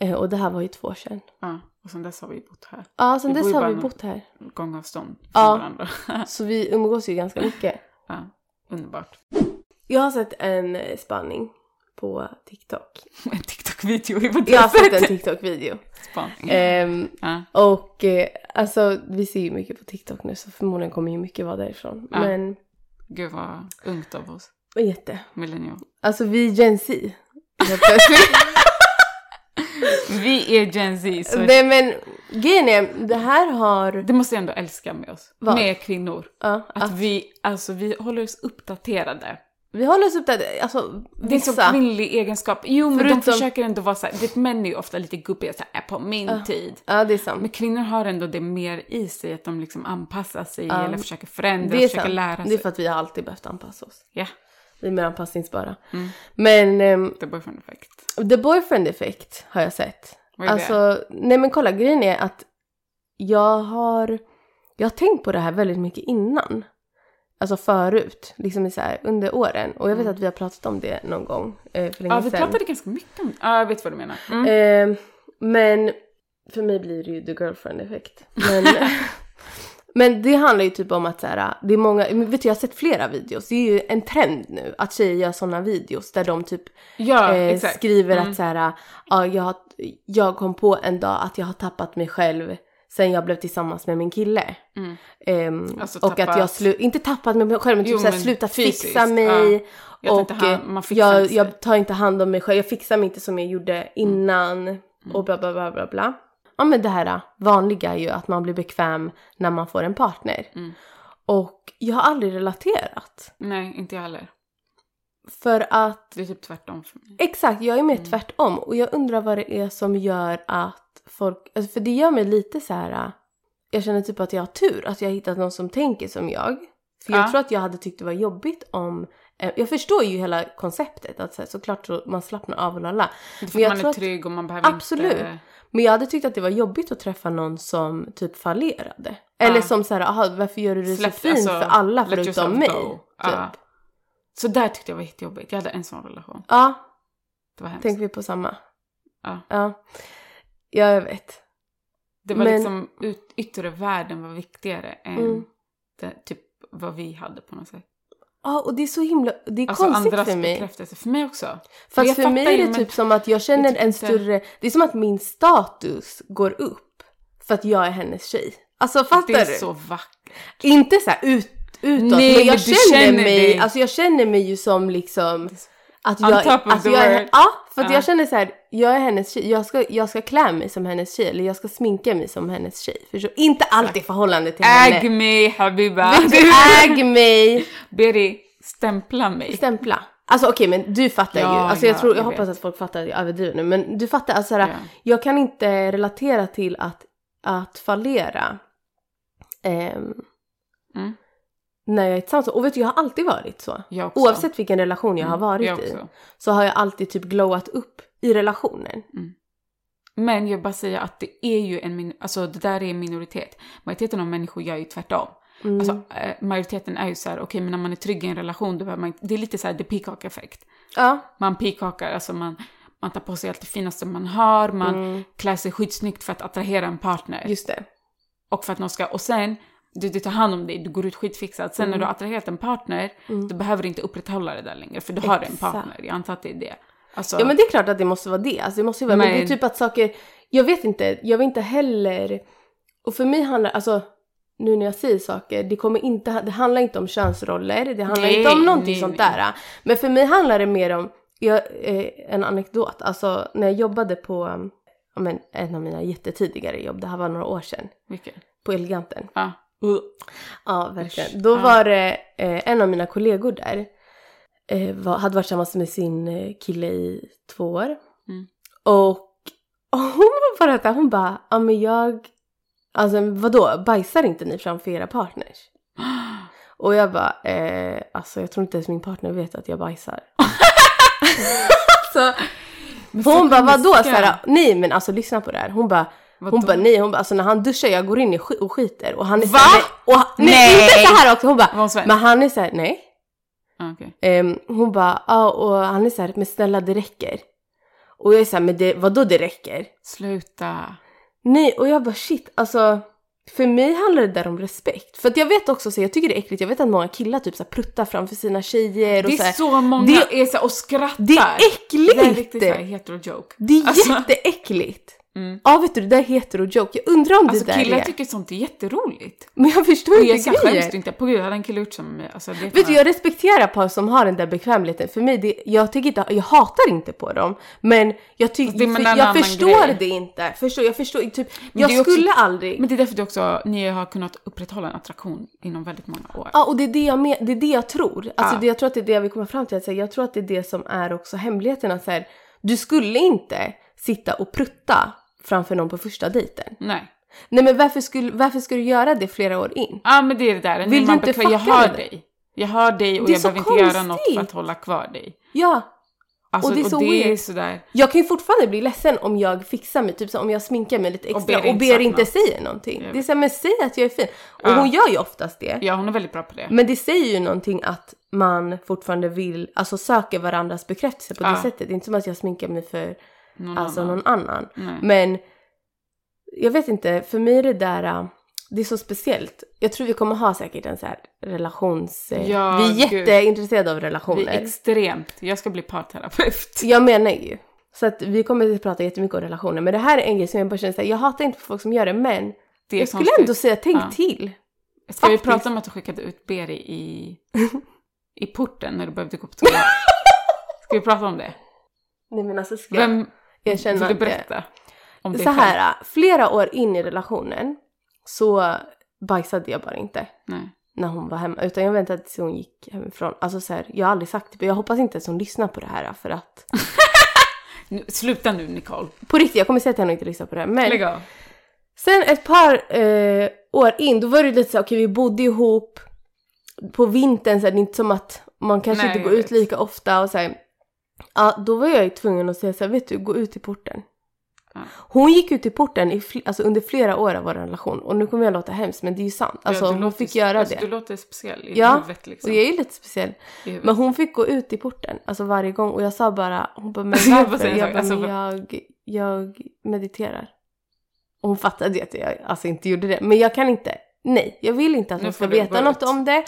S1: Eh, och det här var ju två år sedan.
S2: ja, och sen dess har vi bott här.
S1: Ja, sen
S2: Vi bor
S1: dess
S2: ju
S1: har
S2: bara
S1: vi
S2: någon-
S1: bott här.
S2: Gångavstånd från
S1: Ja.
S2: varandra.
S1: Så vi umgås ju ganska mycket.
S2: Ja, underbart. *laughs*
S1: Jag har sett en eh, spaning på *laughs* TikTok.
S2: En TikTok-video i vad
S1: Jag har sett en TikTok-video.
S2: TikTok-spaning.
S1: Ehm,
S2: Ja,
S1: och eh, alltså, vi ser ju mycket på TikTok nu så förmodligen kommer ju mycket vara därifrån.
S2: Ja.
S1: Men,
S2: gud vad ungt av oss.
S1: vad jätte.
S2: Millennial.
S1: Alltså vi är Gen Z. Helt *laughs* plötsligt.
S2: Vi är Gen Z, så
S1: Nej men, grejen är, det här har...
S2: det måste jag ändå älska med oss.
S1: Vad?
S2: Med kvinnor.
S1: Ja,
S2: Att
S1: att
S2: vi, alltså vi håller oss uppdaterade.
S1: vi håller oss uppdaterade. Alltså,
S2: Det är en
S1: vissa.
S2: sån kvinnlig egenskap. Jo men
S1: Förutom-
S2: de försöker ändå vara såhär, vet män är ju ofta lite gubbiga såhär, "Äh, på min tid.
S1: Ja, det är sant.
S2: Men kvinnor har ändå det mer i sig, att de liksom anpassar sig
S1: Ja.
S2: eller försöker förändra,
S1: Det är
S2: försöker
S1: sant.
S2: lära
S1: Det är
S2: sig.
S1: för att vi har alltid behövt anpassa oss.
S2: Ja,
S1: Vi är mer anpassningsbara.
S2: Mm.
S1: Men ehm,
S2: the boyfriend effect.
S1: The Boyfriend Effect har jag sett.
S2: Vad är det?
S1: Alltså, nej men kolla grejen är att jag har, jag har tänkt på det här väldigt mycket innan. Alltså förut, liksom i så här, under åren. Och jag vet
S2: Mm.
S1: att vi har pratat om det någon gång eh, för länge
S2: Ja, vi
S1: sedan.
S2: pratade ganska mycket om det. Ja, jag vet vad du menar. Mm.
S1: Eh, men för mig blir det ju the girlfriend effekt. Men, men det handlar ju typ om att så här, det är många, men vet du jag har sett flera videos, det är ju en trend nu att tjejer gör sådana videos där de typ
S2: ja,
S1: eh,
S2: exakt.
S1: skriver
S2: Mm.
S1: att så här, ja, jag, har- jag kom på en dag att jag har tappat mig själv sen jag blev tillsammans med min kille.
S2: Mm.
S1: Ehm,
S2: Alltså
S1: och att jag
S2: tappat-
S1: slu- inte tappat mig själv men typ
S2: Jo,
S1: såhär
S2: men
S1: sluta fixa
S2: fysiskt,
S1: mig.
S2: ja. Jag
S1: och
S2: tänkte han-
S1: eh,
S2: man fixar
S1: jag,
S2: inte sig.
S1: jag tar inte hand om mig själv, jag fixar mig inte som jag gjorde innan
S2: Mm.
S1: och bla bla bla bla bla. Ja men det här eh, vanliga är ju att man blir bekväm när man får en partner.
S2: Mm.
S1: Och jag har aldrig relaterat.
S2: Nej, inte jag heller.
S1: För att
S2: Det är typ tvärtom för mig.
S1: Exakt, jag är mer
S2: Mm.
S1: tvärtom. Och jag undrar vad det är som gör att folk... Alltså för det gör mig lite så här... äh, Jag känner typ att jag har tur att jag har hittat någon som tänker som jag. För jag
S2: Ja.
S1: tror att jag hade tyckt det var jobbigt om... eh, Jag förstår ju hela konceptet, att så här, såklart så man slappnar av och lalla.
S2: Det är för
S1: Men jag
S2: att man
S1: tror
S2: är
S1: att-
S2: trygg och man behöver
S1: Absolut.
S2: inte...
S1: Men jag hade tyckt att det var jobbigt att träffa någon som typ fallerade. Eller
S2: Ja.
S1: som så här, aha, varför gör du det
S2: Släpp-
S1: så fint
S2: alltså,
S1: för alla
S2: let
S1: förutom
S2: yourself
S1: mig?
S2: go.
S1: Typ.
S2: Ja. Så där tyckte jag var jättejobbigt. Jag hade en sån relation.
S1: ja,
S2: Det var hemskt.
S1: tänker vi på samma.
S2: Ja.
S1: ja. Ja, jag vet.
S2: det var
S1: men-
S2: liksom ut, yttre världen var viktigare än
S1: Mm.
S2: det, typ vad vi hade på något sätt.
S1: Ja, och det är så himla... Det är
S2: Alltså
S1: konstigt
S2: andras
S1: för mig.
S2: bekräftelse. För mig också. Men
S1: Fast
S2: jag
S1: för
S2: fattar
S1: mig är
S2: ju,
S1: det
S2: men
S1: typ som att jag känner
S2: tycker
S1: en
S2: inte-
S1: större... Det är som att min status går upp för att jag är hennes tjej. Alltså fattar
S2: det är
S1: du?
S2: så vackert.
S1: Inte så här ut, utåt,
S2: Nej,
S1: men jag
S2: men du
S1: känner,
S2: känner
S1: mig...
S2: dig.
S1: Alltså jag känner mig ju som liksom... Att
S2: On
S1: jag, är-
S2: top of
S1: att
S2: the
S1: jag är,
S2: world.
S1: Ja, för att
S2: Ja.
S1: jag känner så här, jag är hennes tjej, jag ska, jag ska klä mig som hennes tjej eller jag ska sminka mig som hennes tjej. Förstår? Inte allt i förhållande till
S2: Äg
S1: henne.
S2: mig Habiba!
S1: Vet du, äg mig!
S2: Beri, stämpla mig.
S1: Stämpla. Alltså okej men du fattar
S2: Ja,
S1: ju. Alltså jag,
S2: ja,
S1: tror, jag,
S2: jag
S1: hoppas att folk fattar att jag överdriver nu men du fattar. Alltså, såhär,
S2: Ja.
S1: Jag kan inte relatera till att, att fallera ehm,
S2: Mm.
S1: när jag är tillsammans. Och vet du jag har alltid varit så.
S2: Jag också.
S1: Oavsett vilken relation jag har
S2: Mm,
S1: varit
S2: jag
S1: i
S2: också.
S1: så har jag alltid typ glowat upp i relationen.
S2: Men jag bara säger att det är ju en min- alltså det där är en minoritet. Majoriteten av människor gör ju tvärtom.
S1: Mm.
S2: Alltså, eh, majoriteten är ju så här, okej men när man är trygg i en relation, då behöver man inte- det är lite så här the peacock effekt.
S1: ja.
S2: Man peacockar, alltså man, man tar på sig allt det finaste man har, man
S1: Mm.
S2: klär sig skitsnyggt för att attrahera en partner.
S1: Just det.
S2: Och för att någon ska, och sen, du, du tar hand om dig, du går ut skitfixad. Sen när
S1: Mm.
S2: du har attraherat en partner, du behöver inte upprätthålla det där längre, för du har en
S1: Exakt.
S2: partner. Jag antar att det är det. Alltså,
S1: Ja men det är klart att det måste vara det. Alltså det måste ju vara, men det är
S2: Men-
S1: typ att saker, jag vet inte, jag vet inte heller. Och för mig handlar, alltså nu när jag säger saker, det kommer inte, det handlar inte om könsroller, det handlar
S2: Nej,
S1: inte om någonting
S2: nej,
S1: sånt
S2: nej.
S1: där. Men för mig handlar det mer om, jag, eh, en anekdot, alltså när jag jobbade på, um, ja men en av mina jättetidigare jobb, det här var några år sedan,
S2: mycket.
S1: på Eleganten.
S2: Ja.
S1: Ja, verkligen.
S2: Uh. Usch.
S1: Då
S2: Ja.
S1: var det eh, en av mina kollegor där. Eh, var, hade varit tillsammans med sin eh, kille i två år.
S2: Mm.
S1: Och, *laughs* och hon var bara där, hon bara, ja men jag, alltså vadå, bajsar inte ni framför era
S2: *gasps*
S1: partners? Och jag bara, eh, alltså jag tror inte ens min partner vet att jag
S2: *laughs*
S1: bajsar. Så, hon
S2: Men folk
S1: bara,
S2: är
S1: vadå?
S2: läskiga.
S1: Såhär, nej men alltså lyssna på det här. Hon bara,
S2: Vadå?
S1: hon bara nej, hon bara, alltså när han duschar jag går in i sk- och skiter och han är
S2: Va?
S1: såhär, nej, och, han- nej,
S2: Nej!
S1: inte så här också, hon
S2: Var
S1: bara,
S2: hon svensk?
S1: men han är såhär, nej.
S2: Ah, okej.
S1: Ehm, hon bara, ja och han är såhär, men snälla det räcker. Och jag är såhär, men det, vadå det räcker?
S2: Sluta.
S1: Nej, och jag bara shit, alltså för mig handlar det där om respekt. För att jag vet också, så jag tycker det är äckligt, jag vet att många killar typ så här, pruttar framför sina tjejer och
S2: Det
S1: så här,
S2: är så många
S1: det-
S2: är så här och skrattar.
S1: Det är äckligt!
S2: Det är riktigt såhär hetero-joke.
S1: Det är
S2: Alltså-
S1: jätteäckligt!
S2: Mm.
S1: Ja vet du, det där är hetero-joke. Jag undrar om
S2: Alltså
S1: det där
S2: killar
S1: är...
S2: tycker sånt är jätteroligt.
S1: Men jag förstår
S2: Och jag
S1: inte
S2: så här skäms typ
S1: grejen.
S2: du inte. På gud, hade en kille gjort som mig. Alltså, det är
S1: Vet du,
S2: fan-
S1: jag respekterar par som har den där bekvämligheten. För mig, det, jag, tycker inte, jag hatar inte på dem. Men jag, ty,
S2: Fast det är med en
S1: för, jag
S2: annan
S1: förstår
S2: grej.
S1: det inte. Förstår, jag förstår typ,
S2: Men
S1: jag
S2: det är också-
S1: skulle aldrig...
S2: Men det är därför du också, ni har kunnat upprätthålla en attraktion inom väldigt många år.
S1: Ja, och det är det jag, men, det är det jag tror. Alltså,
S2: Ja.
S1: det, jag tror att det är det vi kommer fram till. Att, så här, jag tror att det är det som är också hemligheten. Att, så här, du skulle inte sitta och prutta framför någon på första dejten.
S2: Nej.
S1: Nej, men varför skulle, varför skulle du göra det flera år in?
S2: Ja men det är det där, nu
S1: Vill
S2: är
S1: du
S2: man
S1: inte
S2: bekväm. Jag
S1: fucka
S2: har
S1: med det?
S2: dig. Jag har dig och
S1: Det är
S2: jag
S1: så
S2: behöver inte göra något för
S1: konstigt.
S2: att hålla kvar dig.
S1: Ja,
S2: Alltså,
S1: Och det är så
S2: och det är
S1: weird.
S2: sådär,
S1: Jag kan ju fortfarande bli ledsen om jag fixar mig, typ så om jag sminkar mig lite extra och
S2: ber
S1: ber,
S2: inte sagt
S1: inte
S2: något.
S1: säger någonting.
S2: Jag
S1: Det är såhär, men säg att jag är fin. Och
S2: Ja.
S1: hon gör ju oftast det.
S2: ja hon är väldigt bra på det.
S1: Men det säger ju någonting att man fortfarande vill, alltså söker varandras bekräftelse på det
S2: Ja.
S1: sättet. Det är inte som att jag sminkar mig för
S2: Någon
S1: alltså
S2: annan. Mm.
S1: någon annan.
S2: Nej.
S1: Men jag vet inte, för mig är det där, äh, det är så speciellt. Jag tror vi kommer ha säkert en så här relations... eh,
S2: Ja,
S1: vi är
S2: gud.
S1: jätteintresserade av
S2: Det är
S1: relationer.
S2: extremt. Jag ska bli parterapeut.
S1: Jag menar ju. Så att vi kommer att prata jättemycket om relationer. Men det här är en grej som jag bara känner såhär, jag hatar inte folk som gör det men
S2: Det är
S1: jag skulle
S2: konstigt.
S1: ändå säga tänk
S2: Ja.
S1: till.
S2: Ska vi
S1: faktiskt-
S2: prata om att du skickade ut
S1: *laughs*
S2: Beri i, i porten när du behövde gå på toa? Ska vi prata om det?
S1: Nej men alltså ska
S2: Vem
S1: jag känna
S2: vill du
S1: att det-
S2: berätta? Om det
S1: Så här, flera år in i relationen så bajsade jag bara inte
S2: Nej.
S1: när hon var hemma. Utan jag väntade tills hon gick hemifrån. Alltså så här, jag har aldrig sagt det, men jag hoppas inte ens hon lyssnar på det här för att...
S2: Nu, sluta nu Nicole.
S1: På riktigt, jag kommer säga att henne inte lyssnar på det här. Men
S2: Lägg av.
S1: sen ett par eh, år in, då var det lite så här, okej vi bodde ihop. På vintern så här, det är inte som att man kanske
S2: Nej,
S1: inte går
S2: jag
S1: ut
S2: vet.
S1: lika ofta och så här. Ja, då var jag ju tvungen att säga så här, vet du, gå ut i porten.
S2: Ja.
S1: Hon gick ut i porten i fl- alltså under flera år av vår relation och nu kommer jag låta hemskt men det är ju sant. Alltså
S2: Ja, du
S1: hon
S2: låter-
S1: fick göra
S2: alltså,
S1: det.
S2: Du låter speciell i
S1: Ja,
S2: huvudet liksom.
S1: Och jag är ju lite speciell.
S2: I huvudet.
S1: Men hon fick gå ut i porten, alltså varje gång. Och jag sa bara, hon bara, men
S2: *laughs* Jag bara
S1: varför?
S2: säger en
S1: Jag
S2: sak,
S1: bara,
S2: alltså,
S1: men jag, jag mediterar. Och hon fattade ju att jag alltså inte gjorde det. Men jag kan inte. Nej, jag vill inte att
S2: Nu
S1: hon ska
S2: får du gå
S1: veta något
S2: ut.
S1: om det.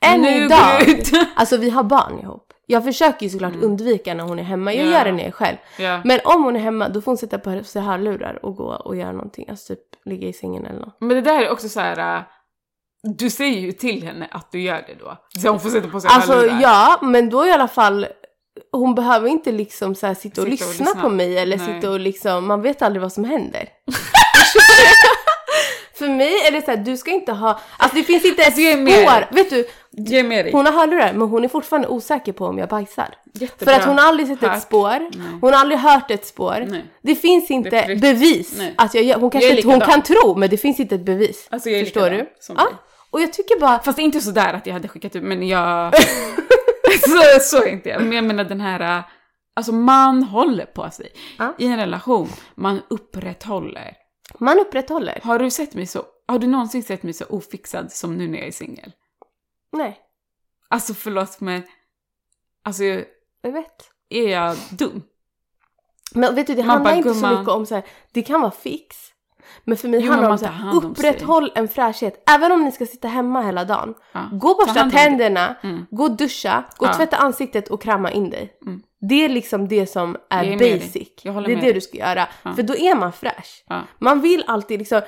S1: Än
S2: nu
S1: idag.
S2: går
S1: *laughs*
S2: jag ut.
S1: Alltså vi har barn ihop. Jag försöker ju såklart
S2: Mm.
S1: undvika när hon är hemma. Jag
S2: Ja.
S1: gör det när jag är själv.
S2: ja.
S1: Men om hon är hemma då får hon sätta på sig hörlurar och gå och göra någonting. Alltså typ ligga i sängen eller något.
S2: Men det där är också så här. äh, Du säger ju till henne att du gör det då. Så hon får sätta på sig
S1: Alltså
S2: hörlurar.
S1: ja, men då i alla fall. Hon behöver inte liksom så här sitta och,
S2: Sitta och
S1: lyssna,
S2: lyssna.
S1: på mig eller
S2: Nej.
S1: sitta och liksom, man vet aldrig vad som
S2: *laughs*
S1: händer. För mig är det så här, du ska inte ha, alltså det finns inte ett
S2: Alltså, jag är med dig.
S1: spår. Vet du,
S2: Ge med dig.
S1: hon har hörlurar men hon är fortfarande osäker på om jag bajsar.
S2: Jättebra.
S1: För att hon har aldrig sett
S2: Hört.
S1: ett spår,
S2: Nej.
S1: hon har aldrig hört ett spår.
S2: Nej.
S1: Det finns inte
S2: Det är prick.
S1: bevis
S2: Nej.
S1: att jag gör, hon kanske
S2: Jag är
S1: inte, hon
S2: likadan.
S1: kan tro men det finns inte ett bevis.
S2: Alltså, jag är
S1: Förstår
S2: likadan
S1: du?
S2: som
S1: Ja.
S2: dig.
S1: Och jag tycker bara,
S2: Fast inte sådär att jag hade skickat ut, men jag...
S1: *laughs*
S2: så, så är inte jag. Men jag menar den här... äh, Alltså man håller på sig.
S1: Ja.
S2: I en relation, man upprätthåller.
S1: man upprätthåller.
S2: Har du sett mig så... Har du någonsin sett mig så ofixad som nu när jag är singel?
S1: Nej,
S2: Alltså förlåt men... Alltså är
S1: jag vet.
S2: jag dum?
S1: Men vet du, det
S2: Man
S1: handlar
S2: bara,
S1: inte så
S2: "Gumman."
S1: mycket om så här, det kan vara fix. Men för mig
S2: Jo,
S1: handlar det om
S2: men man
S1: så
S2: tar
S1: här,
S2: hand om sig.
S1: upprätthåll en fräschhet. Även om ni ska sitta hemma hela dagen.
S2: Ja.
S1: Gå och borsta
S2: hand om dig.
S1: tänderna,
S2: Mm.
S1: gå och duscha, gå och
S2: Ja.
S1: tvätta ansiktet och krama in dig.
S2: Mm.
S1: Det är liksom det som är,
S2: Jag är med dig.
S1: basic.
S2: Jag håller
S1: det är
S2: med
S1: det
S2: dig.
S1: du ska göra.
S2: Ja.
S1: För då är man fräsch.
S2: Ja.
S1: Man vill alltid liksom,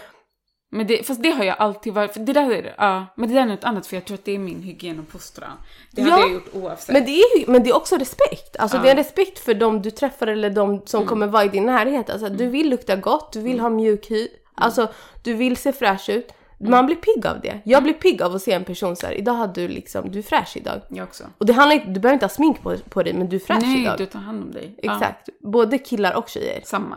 S2: Men det, fast det har jag alltid varit, för det där är, ja, men det där är något annat för jag tror att det är min hygien och postran. Det
S1: Ja,
S2: hade jag gjort oavsett.
S1: men det, är, ju- men det är också respekt. Alltså
S2: Ja. Mm.
S1: det är respekt för de du träffar eller de som kommer vara i din närhet. Alltså du vill lukta gott, du vill ha mjuk hy,
S2: Mm.
S1: alltså du vill se fräsch ut. Man blir pigg av det.
S2: Mm.
S1: Jag blir pigg av att se en person så här. idag har du liksom, du är fräsch idag.
S2: Jag också.
S1: Och det handlar inte, du behöver inte ha smink på, på dig men du är fräsch
S2: Nej,
S1: idag.
S2: du tar hand om dig. Ja,
S1: Exakt, både killar och tjejer.
S2: samma.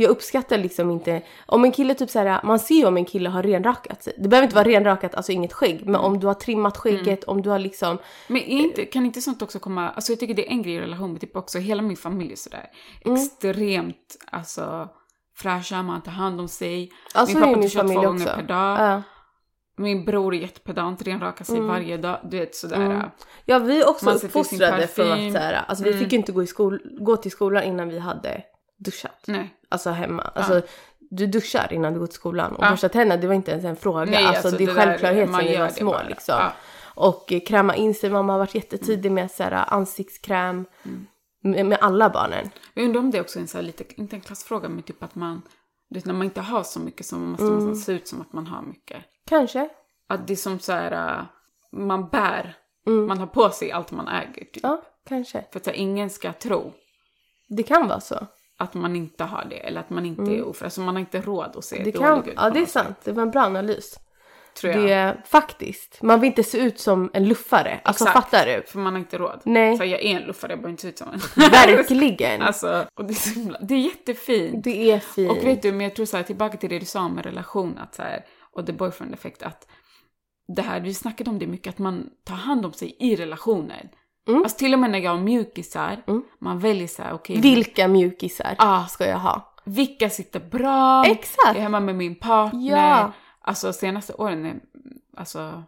S1: Jag uppskattar liksom inte, om en kille typ såhär, man ser ju om en kille har renrakat sig. Det behöver inte vara renrakat, alltså inget skägg,
S2: Mm.
S1: men om du har trimmat skägget, om du har liksom,
S2: Men är inte, kan inte sånt också komma, alltså jag tycker det är en grej i relation med typ också, hela min familj är sådär.
S1: Mm.
S2: Extremt, alltså fräscha, man tar hand om sig.
S1: ja så alltså, är
S2: pappa
S1: ju
S2: tar
S1: min
S2: kött två
S1: familj
S2: gånger
S1: också.
S2: per dag.
S1: Ja.
S2: Min bror är jättepedant, renrakar sig varje dag. Du vet sådär.
S1: Mm. Ja vi är också
S2: Man sätter sin
S1: uppfostrade för
S2: parfym.
S1: att så här, alltså vi
S2: Mm.
S1: fick ju inte gå, i skol- gå till skolan innan vi hade duschat.
S2: Nej.
S1: Alltså hemma. Alltså, du duschar innan du går till skolan och
S2: Ja.
S1: borstar tänderna det var inte ens en fråga.
S2: Nej,
S1: alltså, det är
S2: där-
S1: självklarhet
S2: man
S1: sen vi
S2: gör
S1: var
S2: det
S1: små
S2: bara.
S1: liksom.
S2: Ja.
S1: Och eh, kräma in sig, mamma har varit jättetidig med så här, ansiktskräm.
S2: Mm.
S1: Med, med alla barnen.
S2: Jag undrar om det också är en så här lite, inte en klassfråga, men typ att man, du vet när man inte har så mycket så måste man
S1: Mm.
S2: nästan se ut som att man har mycket.
S1: Kanske.
S2: Att det är som så här, äh, man bär,
S1: Mm.
S2: man har på sig allt man äger typ.
S1: Ja, kanske.
S2: För att så här, ingen ska tro
S1: Det kan vara så.
S2: att man inte har det eller att man inte är ofri. Alltså man har inte råd att se
S1: Mm. Det
S2: dålig
S1: kan,
S2: ut.
S1: ja,
S2: på
S1: det är
S2: något sätt,
S1: sant. Det var en bra analys.
S2: Tror jag.
S1: Det är faktiskt. Man vill inte se ut som en luffare. Alltså
S2: Exakt.
S1: fattar du?
S2: För man har inte råd.
S1: Nej.
S2: Så här, jag är en luffare, jag behöver inte se ut som en.
S1: Verkligen.
S2: *laughs* alltså, och det är så himla, det är jättefint.
S1: Det är fint.
S2: Och vet du, men jag tror så här, tillbaka till det du sa om en relation att så här, och the boyfriend effect att det här, vi snackade om det mycket, att man tar hand om sig i relationen.
S1: Mm.
S2: Alltså till och med när jag har mjukisar,
S1: Mm.
S2: man väljer så här, okej,
S1: Vilka mjukisar
S2: ah,
S1: ska jag ha?
S2: vilka sitter bra? Jag
S1: Exakt!
S2: är hemma med min partner.
S1: Ja.
S2: Alltså senaste åren, är- alltså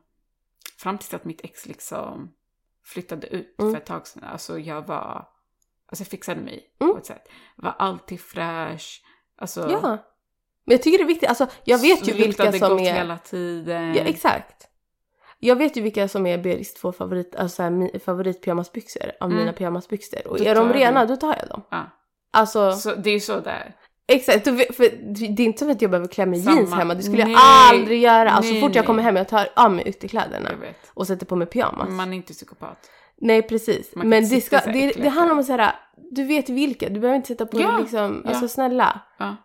S2: fram tills att mitt ex liksom flyttade ut
S1: Mm.
S2: för ett tag sedan, alltså jag var, alltså jag fixade mig
S1: Mm.
S2: på ett sätt. Var alltid fräsch, alltså
S1: Ja. Men jag tycker det är viktigt, alltså jag vet ju vilka
S2: luktade
S1: som
S2: gott
S1: är...
S2: hela tiden.
S1: Ja, exakt. Jag vet ju vilka som är Berits två favorit, alltså så här, mi- favoritpyjamasbyxor av
S2: Mm.
S1: mina pyjamasbyxor. Och
S2: Då
S1: är
S2: tar
S1: de
S2: jag
S1: rena,
S2: dem.
S1: då tar jag dem.
S2: Ja.
S1: Alltså,
S2: Så det är ju så där.
S1: exakt. Du vet- För det är inte som att jag behöver klä mig i
S2: Samma.
S1: jeans hemma. Det skulle
S2: Nej.
S1: jag aldrig göra. Alltså,
S2: Nej,
S1: så fort jag
S2: nej.
S1: kommer hem, jag tar av mig
S2: Jag
S1: ytterkläderna
S2: vet.
S1: och sätter på mig pyjamas.
S2: Man är inte psykopat.
S1: Nej, precis.
S2: Man kan
S1: Men
S2: inte
S1: det,
S2: sitta
S1: ska,
S2: så här
S1: det,
S2: äckligt
S1: det handlar
S2: där.
S1: om att säga, du vet vilka. Du behöver inte sätta på
S2: Ja,
S1: dig liksom,
S2: ja.
S1: alltså snälla.
S2: Ja.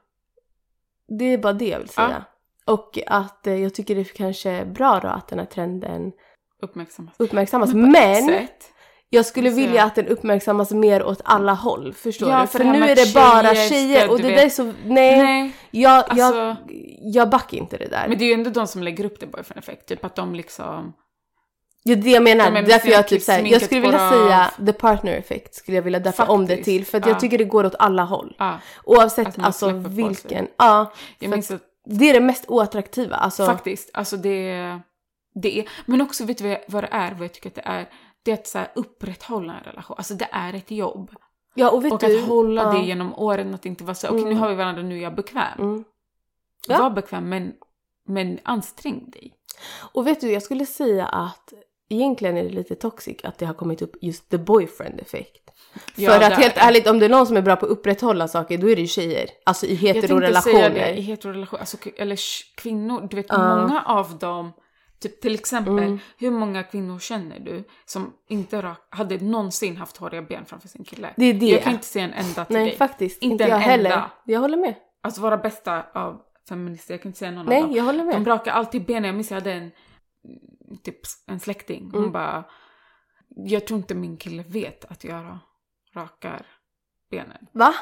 S1: Det är bara det jag vill
S2: Ja.
S1: säga. Och att eh, jag tycker det är kanske är bra då att den här trenden
S2: Uppmärksammas.
S1: uppmärksammas.
S2: på ett
S1: Men
S2: sätt,
S1: jag skulle
S2: Alltså,
S1: vilja
S2: ja.
S1: att den uppmärksammas mer åt alla håll. Förstår
S2: Ja,
S1: du?
S2: för
S1: För,
S2: det här
S1: nu
S2: med
S1: är det bara
S2: tjejer ska-
S1: tjejer och
S2: du
S1: det
S2: vet-
S1: där är så... Nej,
S2: Nej.
S1: jag, jag,
S2: alltså-
S1: jag backar inte det där.
S2: Men det är ju ändå de som lägger upp det boyfriend effect. Typ att de liksom,
S1: Det är det jag menar.
S2: De är
S1: därför jag typ
S2: sminket-
S1: såhär, jag
S2: sminket
S1: skulle
S2: går
S1: vilja
S2: av.
S1: säga the partner effect skulle jag vilja därför om det
S2: Faktiskt,
S1: till. För att
S2: ja.
S1: jag tycker det går åt alla håll.
S2: ja. Att
S1: Oavsett
S2: man
S1: alltså
S2: släpper på sig.
S1: vilken. Ja,
S2: ah, Jag
S1: För
S2: minns att
S1: det är det mest oattraktiva. Alltså,
S2: Faktiskt. Alltså det, det är... Men också, vet du vad- vad det är? Vad jag tycker att det är? Det är att så här upprätthålla en relation. Alltså det är ett jobb.
S1: ja, och vet
S2: och
S1: du,
S2: att hålla
S1: ja.
S2: det genom åren. Att inte vara så här, okej
S1: Mm.
S2: nu har vi varandra, nu är jag bekväm.
S1: Mm. Ja.
S2: Var bekväm men, men ansträng dig.
S1: Och vet du, jag skulle säga att egentligen är det lite toxic att det har kommit upp just the boyfriend effect.
S2: Ja,
S1: För
S2: det
S1: att
S2: är
S1: helt
S2: det.
S1: ärligt, om det är någon som är bra på att upprätthålla saker, då är det ju tjejer. Alltså i
S2: det, i
S1: heterorelationer.
S2: heterorelationer, alltså, k- eller sh- kvinnor. Du vet
S1: Ja.
S2: många av dem, typ till exempel,
S1: Mm.
S2: hur många kvinnor känner du som inte rak, hade någonsin haft håriga ben framför sin kille?
S1: Det är det.
S2: Jag kan inte se en enda till
S1: Nej,
S2: dig.
S1: faktiskt.
S2: Inte
S1: Inte,
S2: en
S1: jag heller.
S2: enda.
S1: Jag håller med.
S2: Alltså våra bästa av feminister, jag kan inte säga någon av
S1: Nej,
S2: dem.
S1: jag håller
S2: De
S1: med.
S2: brakar alltid benen. Jag minns jag hade en, mm, typ, en släkting. Hon
S1: Mm.
S2: bara, jag tror inte min kille vet att jag ra- rakar benen.
S1: Va?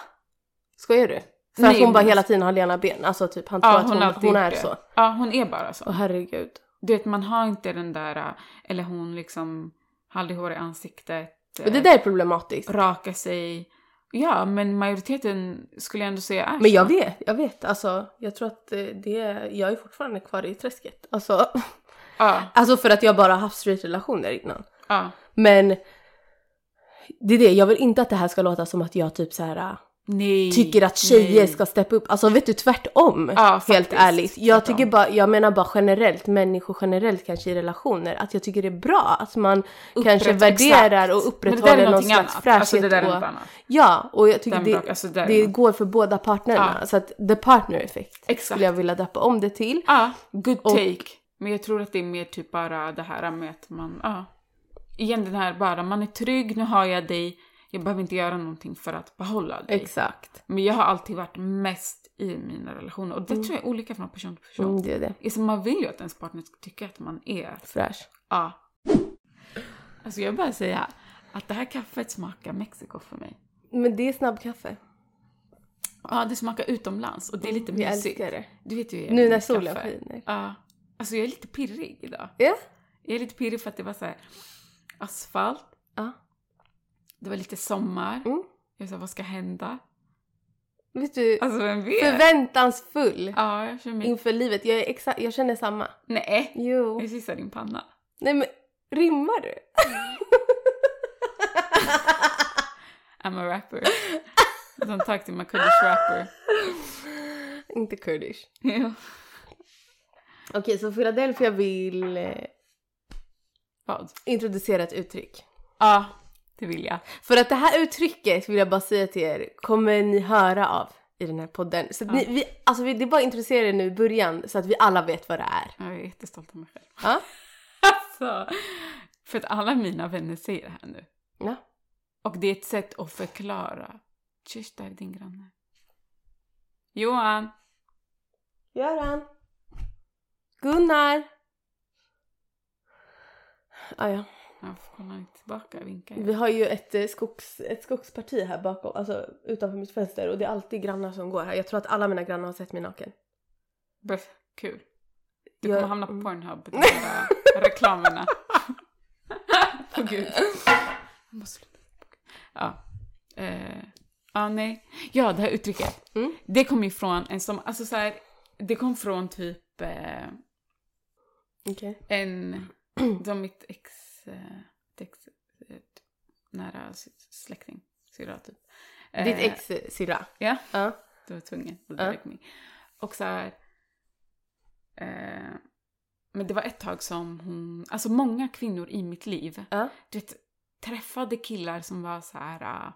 S1: Skojar du? För
S2: Nej,
S1: att hon bara
S2: men-
S1: hela tiden har lena ben. Alltså typ, han tror
S2: Ja,
S1: att
S2: hon,
S1: hon,
S2: har
S1: hon,
S2: alltid gjort
S1: är
S2: det.
S1: så.
S2: Ja, hon är bara så.
S1: Åh herregud.
S2: Du vet, man har inte den där, äh, eller hon liksom, har aldrig hår i ansiktet.
S1: Och det
S2: äh,
S1: där är problematiskt.
S2: Rakar sig. Ja, men majoriteten skulle jag ändå säga är
S1: Men
S2: så.
S1: jag vet, jag vet. Alltså, jag tror att eh, det är, jag är fortfarande kvar i träsket. Alltså, *laughs*
S2: Ja,
S1: alltså för att jag bara har haft straight relationer innan.
S2: ja.
S1: Men det är det, jag vill inte att det här ska låta som att jag typ så här äh,
S2: Nej.
S1: tycker att tjejer
S2: nej.
S1: ska steppa upp. Alltså vet du tvärtom.
S2: Ja,
S1: helt
S2: faktiskt.
S1: ärligt. Jag
S2: Tvärtom.
S1: tycker bara, jag menar bara generellt, människor generellt kanske i relationer, att jag tycker det är bra att man kanske
S2: Upprätt-
S1: värderar
S2: exakt.
S1: och
S2: Men det där
S1: upprätthåller
S2: är
S1: någon
S2: någonting
S1: slags
S2: annat. Alltså det
S1: fräschhet.
S2: där är
S1: och-
S2: något annat.
S1: Ja, och jag tycker
S2: Den
S1: det,
S2: brak, alltså det där är
S1: det
S2: något.
S1: går för båda partnerna.
S2: Ja.
S1: Så att the partner effect
S2: Exakt.
S1: skulle jag vilja döpa om det till.
S2: Ja, Ah, good
S1: Och-
S2: take. Men jag tror att det är mer typ bara det här med att man, ja. Igen den här bara, man är trygg, nu har jag dig. Jag behöver inte göra någonting för att behålla dig.
S1: Exakt.
S2: Men jag har alltid varit mest i mina relationer och det tror jag är olika från person till person.
S1: Mm, det är det.
S2: Alltså, man vill ju att ens partner ska tycka att man är,
S1: Fräsch.
S2: ja. Alltså jag vill bara säga att det här kaffet smakar Mexiko för mig.
S1: Men det är snabbkaffe.
S2: Ja, det smakar utomlands och det är lite
S1: Jag
S2: mysigt.
S1: älskar det.
S2: Du vet ju hur jag
S1: Nu
S2: gillar
S1: när solen
S2: kaffe.
S1: skiner.
S2: Ja. Alltså jag är lite pirrig idag.
S1: Ja.
S2: Jag är lite pirrig för att det var så här asfalt,
S1: ja.
S2: det var lite sommar.
S1: Mm.
S2: Jag sa vad ska hända?
S1: Vet du,
S2: Alltså vem vet?
S1: förväntansfull
S2: ja, jag känner mig...
S1: inför livet. Jag, är exa- jag känner samma.
S2: Nej!
S1: Jo.
S2: Jag kissar din panna.
S1: Nej men, rimmar du?
S2: I'm a rapper. Don't talk to my Kurdish rapper.
S1: Inte kurdish.
S2: Ja.
S1: Okej, så Philadelphia vill eh,
S2: Vad?
S1: introducera ett uttryck.
S2: Ja, det vill jag.
S1: För att det här uttrycket vill jag bara säga till er kommer ni höra av i den här podden. Så att
S2: Ja.
S1: ni, vi, alltså vi, det är bara att introducera det nu i början så att vi alla vet vad det är.
S2: Jag är jättestolt av mig själv.
S1: Ja.
S2: Alltså, för att alla mina vänner säger det här nu.
S1: Ja.
S2: Och det är ett sätt att förklara. Tyst där, din granne. Johan!
S1: Göran. Gunnar. Ah, ja.
S2: Ja, får kolla inte tillbaka och vinka.
S1: Vi har ju ett, eh, skogs, ett skogsparti här bakom, alltså utanför mitt fönster och det är alltid grannar som går här. Jag tror att alla mina grannar har sett mig naken.
S2: Bäst. Kul. Du
S1: Jag-
S2: kommer hamna *laughs* på Pornhub, de där reklamerna. Åh gud. Jag måste sluta. Ja. Eh, ja, nej. Ja, det här uttrycket.
S1: Mm.
S2: Det kom ifrån en som, alltså så här, det kom från typ eh,
S1: Okej. *clears throat*
S2: en, det var mitt ex, eh, ett ex eh, nära s- släkting, syrra typ. Eh,
S1: Ditt ex eh, syrra?
S2: Ja.
S1: Ja.
S2: Du var tvungen att
S1: Ja.
S2: dra igång. Och så här... Eh, men det var ett tag som hon... Alltså många kvinnor i mitt liv,
S1: Ja.
S2: du vet, träffade killar som var så här... eh,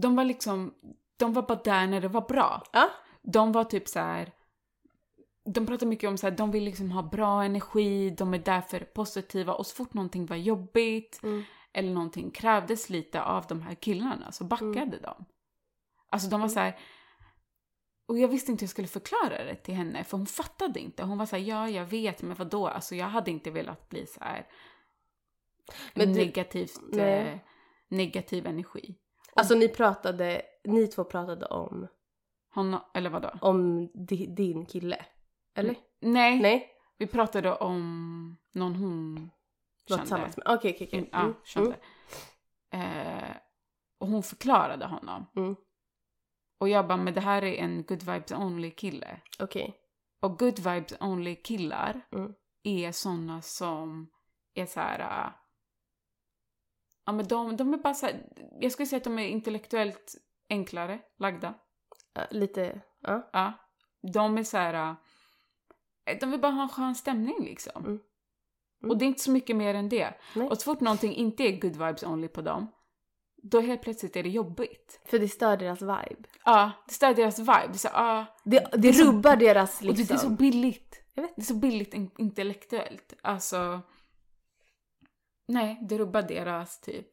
S2: De var liksom... De var bara där när det var bra.
S1: Ja.
S2: De var typ så här... De pratade mycket om så här, de vill liksom ha bra energi, de är därför positiva och så fort någonting var jobbigt
S1: Mm.
S2: eller någonting krävdes lite av de här killarna så backade
S1: Mm.
S2: de. Alltså de var så här. Och jag visste inte hur jag skulle förklara det till henne för hon fattade inte. Hon var så här, ja jag vet men vadå? Alltså jag hade inte velat bli så här
S1: Men du-
S2: negativt,
S1: Nej.
S2: eh, negativ energi.
S1: Alltså ni pratade, ni två pratade om,
S2: Hon, eller vadå?
S1: om di, din kille? Eller?
S2: Nej,
S1: Nej?
S2: vi pratade om någon hon
S1: Var
S2: kände.
S1: tillsammans med? Okej, okej,
S2: Mm,
S1: okej.
S2: ja,
S1: Mm,
S2: kände. Eh, och hon förklarade honom.
S1: Mm.
S2: Och jag bara, men det här är en good vibes only kille.
S1: Okej.
S2: Och good vibes only killar
S1: Mm.
S2: är såna som är så här... äh, Ja men de, de är bara så här, Jag skulle säga att de är intellektuellt enklare lagda.
S1: Ja, Lite, ja.
S2: Ja. De är så här... äh, De vill bara ha en skön stämning liksom.
S1: Mm. Mm.
S2: Och det är inte så mycket mer än det.
S1: Nej.
S2: Och så fort någonting inte är good vibes only på dem, då helt plötsligt är det jobbigt.
S1: För det stör deras vibe.
S2: Ja, det stör deras vibe. Det är så, här, ja,
S1: Det, det, rubbar deras
S2: Och det, det är så
S1: liksom...
S2: billigt.
S1: Jag vet.
S2: Det är så billigt in- intellektuellt. Alltså... Nej, det rubbar deras typ...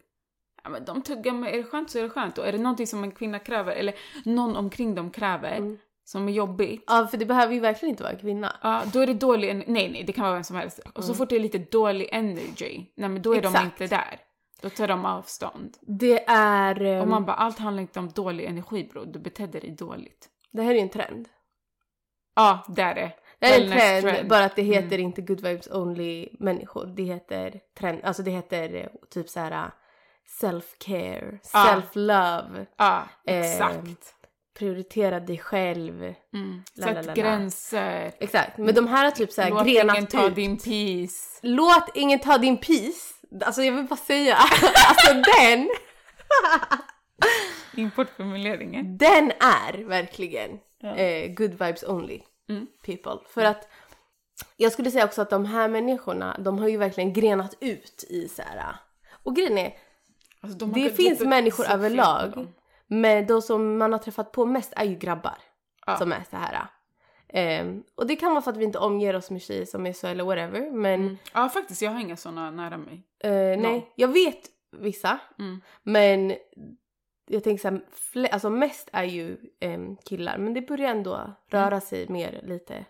S2: Ja, men de tuggar med, är det skönt så är det skönt. Och är det någonting som en kvinna kräver, eller någon omkring dem kräver,
S1: Mm.
S2: som är jobbigt,
S1: Ja, för det behöver ju verkligen inte vara en kvinna.
S2: ja, då är det dålig en- Nej, nej, det kan vara vem som helst. Och så fort det är lite dålig energy, nej men då är de
S1: Mm. Exakt.
S2: inte där. Då tar de avstånd.
S1: Det är... ehm,
S2: Och man bara, allt handlar inte om dålig energi bror, du betedde dig dåligt.
S1: Det här är ju en trend.
S2: Ja, där är det.
S1: Det här är en
S2: Wellness
S1: trend,
S2: trend. Mm.
S1: bara att det heter inte good vibes only människor. Det heter trend, alltså det heter eh, typ så här self-care,
S2: Ja.
S1: self-love,
S2: Ja,
S1: Ehm,
S2: exakt.
S1: prioritera dig själv.
S2: Mm.
S1: La, la,
S2: Sätt
S1: la, la.
S2: gränser.
S1: Exakt, men de här har typ så här
S2: Låt ingen
S1: grenat
S2: ta
S1: ut.
S2: din peace.
S1: Låt ingen ta din peace. Alltså jag vill bara säga, *laughs* alltså den,
S2: Importformuleringen.
S1: den är verkligen
S2: Ja.
S1: eh, good vibes only
S2: Mm.
S1: people. För att jag skulle säga också att de här människorna, de har ju verkligen grenat ut i så här. Och grejen är,
S2: Alltså, de har
S1: Det
S2: gått
S1: finns
S2: lite
S1: människor
S2: så fel på
S1: överlag.
S2: dem.
S1: Men de som man har träffat på mest är ju grabbar.
S2: Ja.
S1: Som är så här. Ehm, och det kan vara för att vi inte omger oss med tjejer som är så eller whatever. Men
S2: Mm. Ja, faktiskt. Jag har inga såna nära mig.
S1: eh, nej, jag vet vissa.
S2: Mm.
S1: Men jag tänker såhär, fle- alltså mest är ju ehm, killar. Men det börjar
S2: Mm.
S1: ändå röra sig mer lite.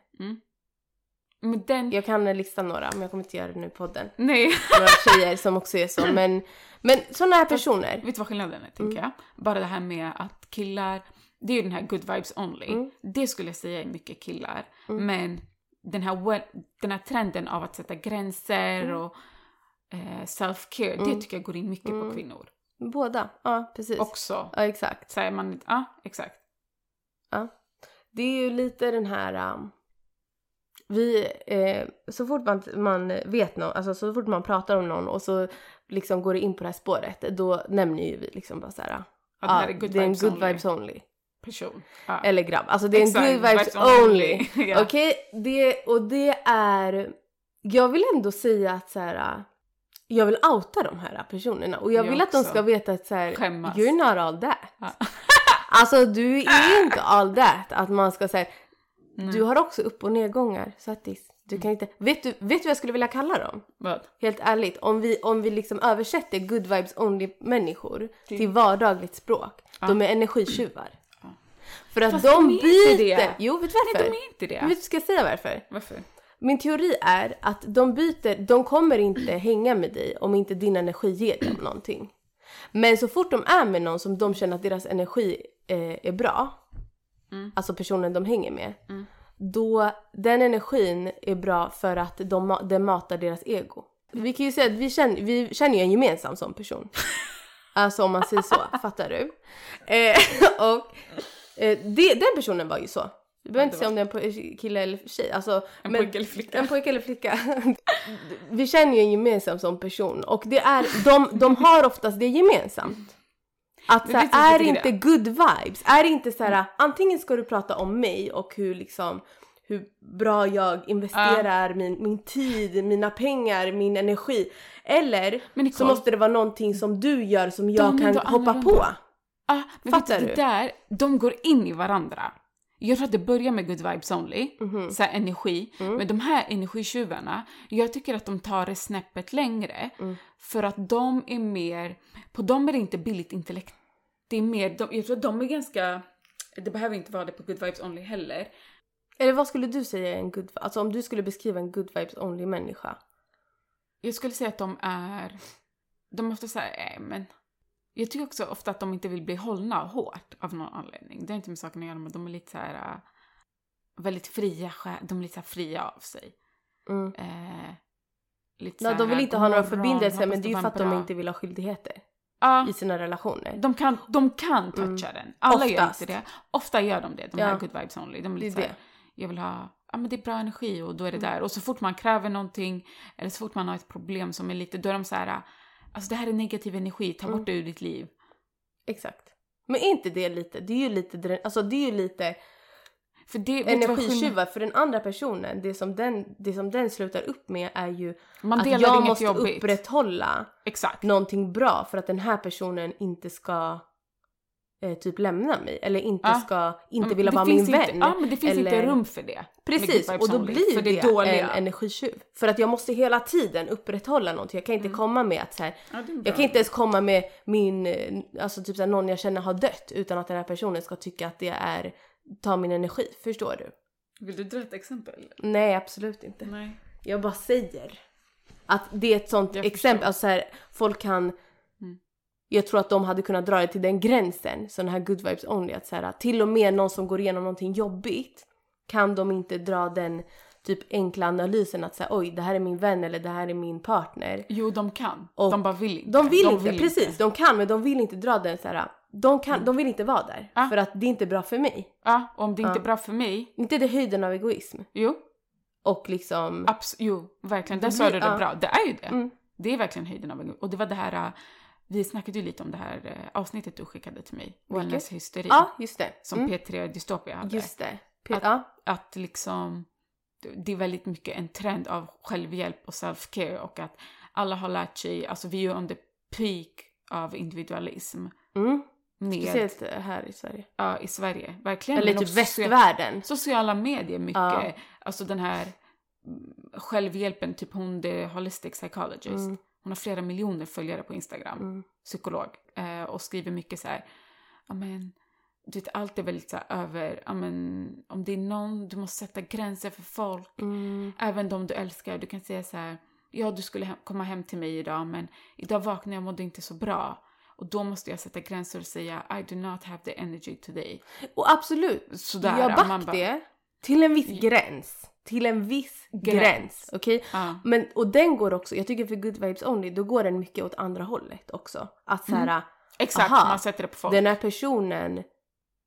S2: Men den...
S1: Jag kan eh, lista några men jag kommer inte göra det nu i podden.
S2: Nej.
S1: Några tjejer som också är
S2: *laughs*
S1: så. Men, men sådana här personer.
S2: Vet du vad skillnaden är,
S1: Mm.
S2: tänker jag? Bara det här med att killar... Det är ju den här good vibes only.
S1: Mm.
S2: Det skulle jag säga är mycket killar.
S1: Mm.
S2: Men den här, well, den här trenden av att sätta gränser
S1: Mm.
S2: och eh, self-care,
S1: Mm.
S2: det tycker jag går in mycket
S1: Mm.
S2: på kvinnor.
S1: Båda, ja precis.
S2: Också.
S1: Ja exakt.
S2: Säger man inte... Ja, exakt.
S1: Det är ju lite den här... um, vi, eh, så fort man, man vet någon, alltså så fort man pratar om någon och så liksom går det in på det här spåret, då nämner ju vi liksom bara såhär... Ja,
S2: Ja, det här är good
S1: det är en
S2: vibes
S1: good
S2: only.
S1: vibes only.
S2: person. Ja.
S1: Eller grabb, alltså det är
S2: Exakt,
S1: en good vibes, only.
S2: *laughs* ja.
S1: Okej, det, och det är... Jag vill ändå säga att så här. uh, Jag vill outa de här personerna och jag,
S2: Jag
S1: vill att de
S2: också.
S1: ska veta att så här,
S2: Skämmas.
S1: you're not all that.
S2: Ja.
S1: *laughs* Alltså du är inte all that. Att man ska säga
S2: Nej. Mm.
S1: du har också upp och nedgångar. Sattis. Du kan inte... Vet du, vet du vad jag skulle vilja kalla dem?
S2: Vad?
S1: Helt ärligt, om vi, om vi liksom översätter good vibes only människor
S2: Till-
S1: till vardagligt språk.
S2: Typ. Ja.
S1: De är energitjuvar.
S2: Ja.
S1: För att
S2: Fast
S1: de
S2: de är inte
S1: byter...
S2: det.
S1: Jo, vet du
S2: Nej,
S1: varför?
S2: de är inte det.
S1: Vet du ska jag säga varför?
S2: Varför?
S1: Min teori är att de byter, de kommer inte hänga med dig om inte din energi ger dem någonting. Men så fort de är med någon som de känner att deras energi eh, är bra,
S2: Mm.
S1: alltså personen de hänger med,
S2: Mm.
S1: då den energin är bra för att de, ma- den matar deras ego. Vi kan ju säga att vi känner, vi känner ju en gemensam sån
S2: *laughs*
S1: person. Alltså om man säger så, fattar du? Eh, *laughs* och eh, det, den personen var ju så. Du behöver
S2: Ja,
S1: inte
S2: det
S1: säga om det är en poj- kille eller tjej. Alltså,
S2: En
S1: men-
S2: pojke eller
S1: en
S2: flicka.
S1: pojke eller flicka. *laughs* Vi känner ju en gemensam sån person och det är, de, de har oftast det gemensamt. Att
S2: Men
S1: så här,
S2: det är typ
S1: är det
S2: lite
S1: inte good vibes? Är det inte så här, antingen ska du prata om mig och hur liksom hur bra jag investerar min, min tid, mina pengar, min energi. Eller
S2: Men Nicole,
S1: så måste det vara någonting som du gör som jag
S2: är
S1: kan
S2: då
S1: hoppa på.
S2: annorlunda. ah, men
S1: Fattar
S2: fattar du? Det
S1: du?
S2: där, de går in i varandra. Jag tror att det börjar med good vibes only, så här energi. Men de här energitjuvarna, jag tycker att de tar det snäppet längre. För att de är mer, på dem är det inte billigt intellekt. Det är mer, de, jag tror att de är ganska, det behöver inte vara det på good vibes only heller.
S1: Eller vad skulle du säga är en good Alltså om du skulle beskriva en good vibes only människa.
S2: Jag skulle säga att de är... De är ofta såhär, äh, men... Jag tycker också ofta att de inte vill bli hållna hårt av någon anledning. Det har inte med saken att göra, men de är lite så här äh, väldigt fria, sjä- de är lite så här fria av sig.
S1: Mm.
S2: Eh, lite
S1: Ja,
S2: så
S1: de vill
S2: här,
S1: inte
S2: "God
S1: ha några
S2: morgon,
S1: förbindelser
S2: hoppas
S1: men det är ju
S2: var
S1: för
S2: en
S1: att de
S2: bra-"
S1: inte vill ha skyldigheter
S2: Ja,
S1: i sina relationer.
S2: de kan, de kan toucha den. Alla gör
S1: Oftast.
S2: inte det. Ofta gör de det, de här
S1: Ja.
S2: good vibes only. De är
S1: Det är
S2: lite så här,
S1: det.
S2: jag vill ha, ja men det är bra energi och då är det
S1: Mm.
S2: där. Och så fort man kräver någonting eller så fort man har ett problem som är lite, då är de så här, alltså det här är negativ energi, ta
S1: Mm.
S2: bort det ur ditt liv.
S1: Exakt. Men är inte det lite, det är ju lite, drä- alltså det är ju lite
S2: För det, vet du vad skillnad-
S1: energitjuvar för den andra personen. Det som den, det som den slutar upp med är ju
S2: Man
S1: att
S2: delar
S1: jag
S2: inget
S1: måste
S2: jobbigt.
S1: upprätthålla
S2: Exakt.
S1: någonting bra för att den här personen inte ska eh, typ lämna mig eller inte
S2: Ja.
S1: ska, inte
S2: Mm, Men
S1: vilja
S2: det
S1: vara min
S2: finns
S1: vän.
S2: inte, Ja men det finns inte
S1: eller-
S2: rum för det. med
S1: Precis,
S2: good
S1: och
S2: vibes
S1: då
S2: only,
S1: blir
S2: för
S1: det,
S2: det, är dåliga.
S1: en energitjuv. För att jag måste hela tiden upprätthålla någonting. Jag kan
S2: Mm.
S1: inte komma med att så här,
S2: Ja, det är bra.
S1: jag kan inte ens komma med min, eh, alltså typ så här, någon jag känner har dött utan att den här personen ska tycka att det är, ta min energi. Förstår du?
S2: Vill du dra ett exempel?
S1: Nej, absolut inte.
S2: Nej.
S1: Jag bara säger att det är ett sånt
S2: Jag
S1: exempel.
S2: förstår.
S1: Alltså så här, folk kan... Jag tror att de hade kunnat dra det till den gränsen, sådana här good vibes only. Att så här, till och med någon som går igenom någonting jobbigt kan de inte dra den typ enkla analysen att säga oj det här är min vän eller det här är min partner.
S2: Jo, de kan.
S1: Och
S2: de bara vill inte.
S1: De vill inte, precis de kan men de vill inte dra den så här. De, kan, de vill inte vara där
S2: Ah.
S1: för att det är inte bra för mig.
S2: Ja, och om det inte
S1: Ja.
S2: är bra för mig,
S1: Inte det höjden av egoism
S2: jo,
S1: och liksom
S2: Abs- jo, verkligen. Där
S1: Det
S2: sa
S1: blir-
S2: du det
S1: ja.
S2: bra. Det är ju det.
S1: Mm.
S2: Det är verkligen höjden av en... Och det var det här... äh, Vi snackade ju lite om det här äh, avsnittet du skickade till mig. Wellness-hysteri.
S1: ja just det.
S2: Som
S1: Mm,
S2: P3 Dystopia hade.
S1: just det. P-
S2: Att-
S1: ja.
S2: Att liksom... Det är väldigt mycket en trend av självhjälp och self-care och att alla har lärt sig... Alltså vi är ju on the peak av individualism.
S1: Mm.
S2: Med,
S1: Speciellt eh, här i Sverige.
S2: ja, i Sverige. Verkligen.
S1: Eller
S2: Men
S1: typ
S2: också socia-
S1: västvärlden.
S2: sociala medier mycket.
S1: Ja.
S2: Alltså den här mm, självhjälpen, typ hon the holistic psychologist.
S1: Mm.
S2: Hon har flera miljoner följare på Instagram,
S1: Mm.
S2: psykolog. Eh, och skriver mycket så här, ja men, du vet allt är väldigt så här över, ja men om det är någon, du måste sätta gränser för folk.
S1: Mm.
S2: Även de du älskar, du kan säga så här, ja du skulle he- komma hem till mig idag men idag vaknade jag och mådde inte så bra. Och då måste jag sätta gränser och säga I do not have the energy today.
S1: Och absolut,
S2: Sådär,
S1: jag back
S2: man bara-
S1: det till en viss gräns. Till en viss gräns.
S2: Gräns.
S1: Okej?
S2: Ja.
S1: Men, och den går också, jag tycker för good vibes only, då går den mycket åt andra hållet också. Att såhär,
S2: Mm. Exakt,
S1: Aha.
S2: man sätter det på folk.
S1: den här personen,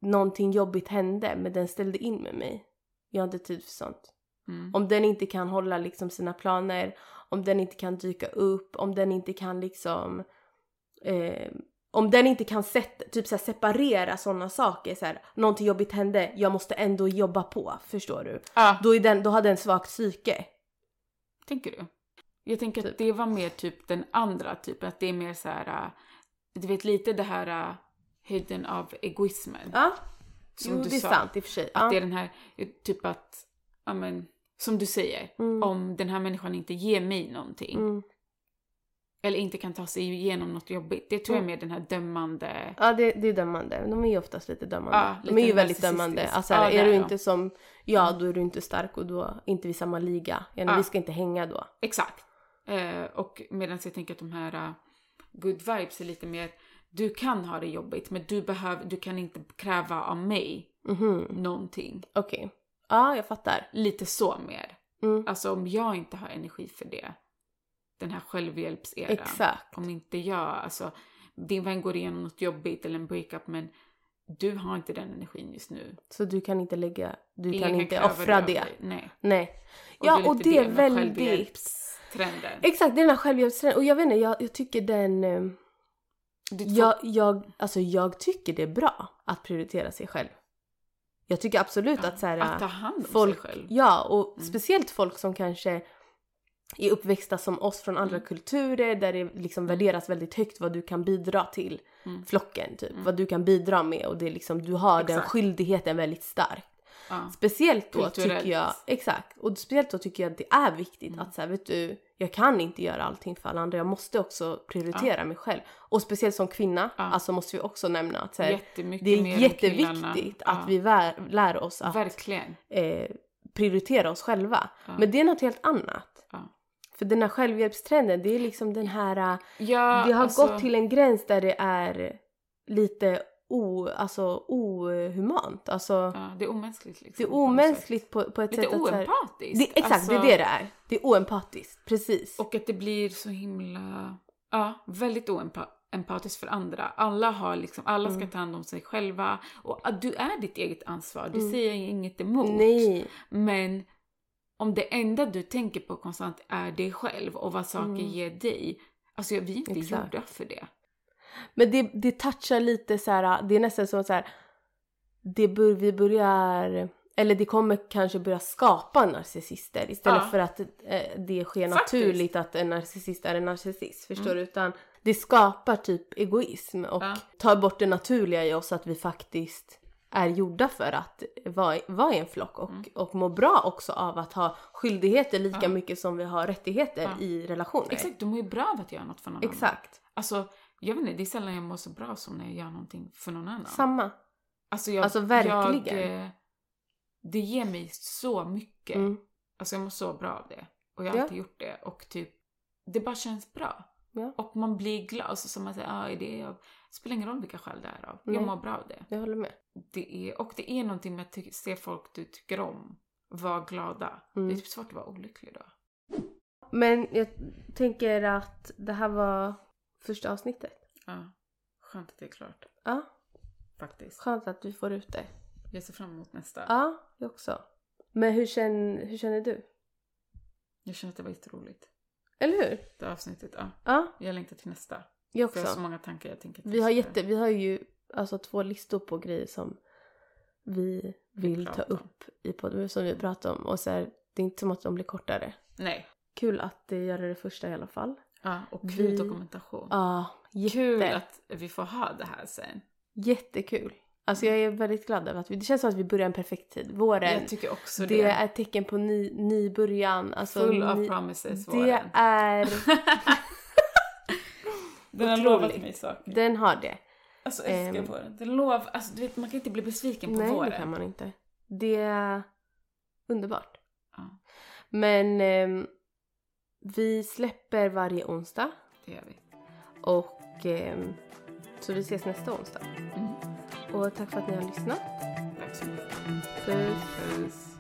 S1: någonting jobbigt hände men den ställde in med mig. Jag har inte tid för sånt.
S2: Mm.
S1: Om den inte kan hålla liksom sina planer, om den inte kan dyka upp, om den inte kan liksom... Eh, om den inte kan sätta, typ så här separera sådana saker, så här, någonting jobbigt hände, jag måste ändå jobba på, förstår du?
S2: Ja,
S1: Då, är den, då har den svagt psyke.
S2: tänker du? Jag tänker att
S1: Typ.
S2: det var mer typ den andra typen, att det är mer så här, äh, du vet lite det här äh, höjden av egoismen.
S1: Ja,
S2: som
S1: jo,
S2: du
S1: det är
S2: sa.
S1: sant i och för sig.
S2: Att
S1: Ja.
S2: det är den här, typ att, ja men, som du säger,
S1: Mm.
S2: om den här människan inte ger mig någonting
S1: Mm.
S2: eller inte kan ta sig igenom något jobbigt, det tror jag
S1: Mm.
S2: är mer den här dömande,
S1: Ja det, det är dömande. De är ju oftast lite dömande.
S2: Ja,
S1: de är
S2: lite
S1: ju väldigt
S2: narcissistisk.
S1: dömande. Alltså,
S2: Ja, det
S1: är
S2: är
S1: du
S2: de. Mm.
S1: inte som jag då är du inte stark och då är inte vi samma liga. Ja,
S2: Ja.
S1: Vi ska inte hänga då.
S2: exakt. Eh, och medan jag tänker att de här äh, good vibes är lite mer, du kan ha det jobbigt men du, behöver, du kan inte kräva av mig
S1: Mhm.
S2: någonting.
S1: Okej. Ja, jag fattar.
S2: Lite så mer.
S1: Mm.
S2: Alltså om jag inte har energi för det. den här självhjälpseran.
S1: Exakt.
S2: Om inte jag, alltså din vän går igenom något jobbigt eller en breakup men du har inte den energin just nu.
S1: Så du kan inte lägga, du
S2: Ingen
S1: kan inte
S2: kräva
S1: offra
S2: av
S1: det.
S2: dig. Nej.
S1: Nej. ja,
S2: lite
S1: och det är
S2: med
S1: väldigt...
S2: självhjälpstrenden.
S1: Exakt, det är den här självhjälpsträningen. Och jag vet inte, jag, jag tycker den... eh,
S2: Du får-
S1: Jag, jag, alltså jag tycker det är bra att prioritera sig själv. Jag tycker absolut att så här,
S2: att ta hand om
S1: folk,
S2: sig själv.
S1: Ja, och
S2: Mm.
S1: speciellt folk som kanske är uppväxta som oss från andra
S2: Mm.
S1: kulturer där det liksom värderas väldigt högt vad du kan bidra till
S2: Mm.
S1: flocken, typ.
S2: Mm.
S1: Vad du kan bidra med och det är liksom, du har den
S2: Exakt.
S1: skyldigheten väldigt starkt.
S2: Ja.
S1: Speciellt då
S2: Kulturellt.
S1: tycker jag, exakt, och speciellt då tycker jag att det är viktigt
S2: Mm.
S1: att så här, vet du, jag kan inte göra allting för alla andra, jag måste också prioritera mig själv. Och speciellt som kvinna,
S2: Ja.
S1: alltså måste vi också nämna att så här,
S2: Jättemycket
S1: det är
S2: mer än
S1: jätteviktigt
S2: killarna.
S1: att
S2: Ja.
S1: vi vär, lär oss att
S2: Verkligen.
S1: eh, prioritera oss själva.
S2: Ja.
S1: Men det är något helt annat.
S2: Ja.
S1: För den här självhjälpstrenden, det är liksom den här, eh,
S2: Ja,
S1: det har
S2: alltså,
S1: gått till en gräns där det är lite o, alltså, ohumant. Alltså,
S2: Ja, det är omänskligt liksom.
S1: det är
S2: på något
S1: omänskligt
S2: sätt.
S1: på, på ett
S2: Lite
S1: sätt att... så här-
S2: oempatiskt. alltså-
S1: det, exakt, det är det det är. Det är oempatiskt, precis.
S2: Och att det blir så himla... Ja, väldigt oempatiskt för andra. Alla har liksom, alla ska
S1: Mm.
S2: ta hand om sig själva. Och att du är ditt eget ansvar, det
S1: Mm.
S2: säger jag inget emot.
S1: Nej.
S2: Men om det enda du tänker på konstant är dig själv och vad saker
S1: Mm.
S2: ger dig. Alltså vi är inte
S1: Exakt.
S2: gjorda för det.
S1: Men det, det touchar lite så här, det är nästan som så här, det bör, vi börjar, eller det kommer kanske börja skapa narcissister istället
S2: Ja.
S1: för att eh, det sker
S2: Faktiskt. Mm.
S1: naturligt att en narcissist är en narcissist, förstår du? Utan det skapar typ egoism och
S2: Ja.
S1: tar bort det naturliga i oss att vi faktiskt är gjorda för att vara, vara i en flock och, och må bra också av att ha skyldigheter lika
S2: Mm. Ja.
S1: mycket som vi har rättigheter
S2: Ja.
S1: i relationer.
S2: Exakt, du mår ju bra av att göra något för någon annan.
S1: Exakt.
S2: Alltså, jag vet inte, det är sällan jag mår så bra som när jag gör någonting för någon annan.
S1: Samma.
S2: Alltså, jag,
S1: Alltså, verkligen.
S2: Jag, eh, det ger mig så mycket.
S1: Mm.
S2: Alltså jag mår så bra av det. Och jag har
S1: Ja.
S2: alltid gjort det. Och typ, det bara känns bra.
S1: Ja.
S2: Och man blir glad. Och så som man säger, ah, är det av... spelar ingen roll vilka skäl det är av.
S1: Nej.
S2: Jag mår bra av det.
S1: Jag håller med.
S2: det är... Och det är någonting med att ty- se folk du tycker om vara glada.
S1: Mm.
S2: Det är typ svårt att vara olycklig då.
S1: Men jag tänker att det här var första avsnittet.
S2: Ja. Skönt att det är klart.
S1: Ja,
S2: Faktiskt.
S1: skönt att vi får ut det.
S2: Jag ser fram emot nästa.
S1: Ja, jag också. Men hur känner, hur känner du?
S2: Jag känner att det var jätteroligt.
S1: Eller hur?
S2: Det här avsnittet, ja.
S1: Ja,
S2: Jag längtar till nästa.
S1: jag
S2: För jag har så
S1: också.
S2: många tankar jag tänker
S1: Vi har,
S2: testa.
S1: jätte, vi har ju alltså två listor på grejer som vi vill ta
S2: pratar om.
S1: upp i podden, som vi pratar om. Och så här, det är inte som att de blir kortare.
S2: Nej.
S1: Kul att eh, göra det första i alla fall.
S2: Ja, och kul
S1: Vi-
S2: dokumentation.
S1: Ja, jätte,
S2: Kul att vi får ha det här sen.
S1: jättekul. Alltså jag är väldigt glad över att vi, det känns som att vi börjar en perfekt tid. Våren,
S2: Jag tycker också
S1: Det
S2: det.
S1: är ett tecken på ny, ny början. Alltså,
S2: Full of
S1: ny,
S2: promises,
S1: Det
S2: våren. *laughs*
S1: är...
S2: Den har lovat
S1: otroligt.
S2: mig saker.
S1: Den har det.
S2: Alltså jag älskar
S1: Ehm.
S2: våren. Den lov, alltså du vet man kan inte bli besviken på
S1: Nej,
S2: våren.
S1: det kan man inte. Det är underbart.
S2: Ja.
S1: Men ehm, vi släpper varje onsdag
S2: Det gör vi.
S1: och ehm, så vi ses nästa onsdag.
S2: Mm.
S1: Och tack för att ni har lyssnat.
S2: Tack så mycket.
S1: Puss!
S2: Puss.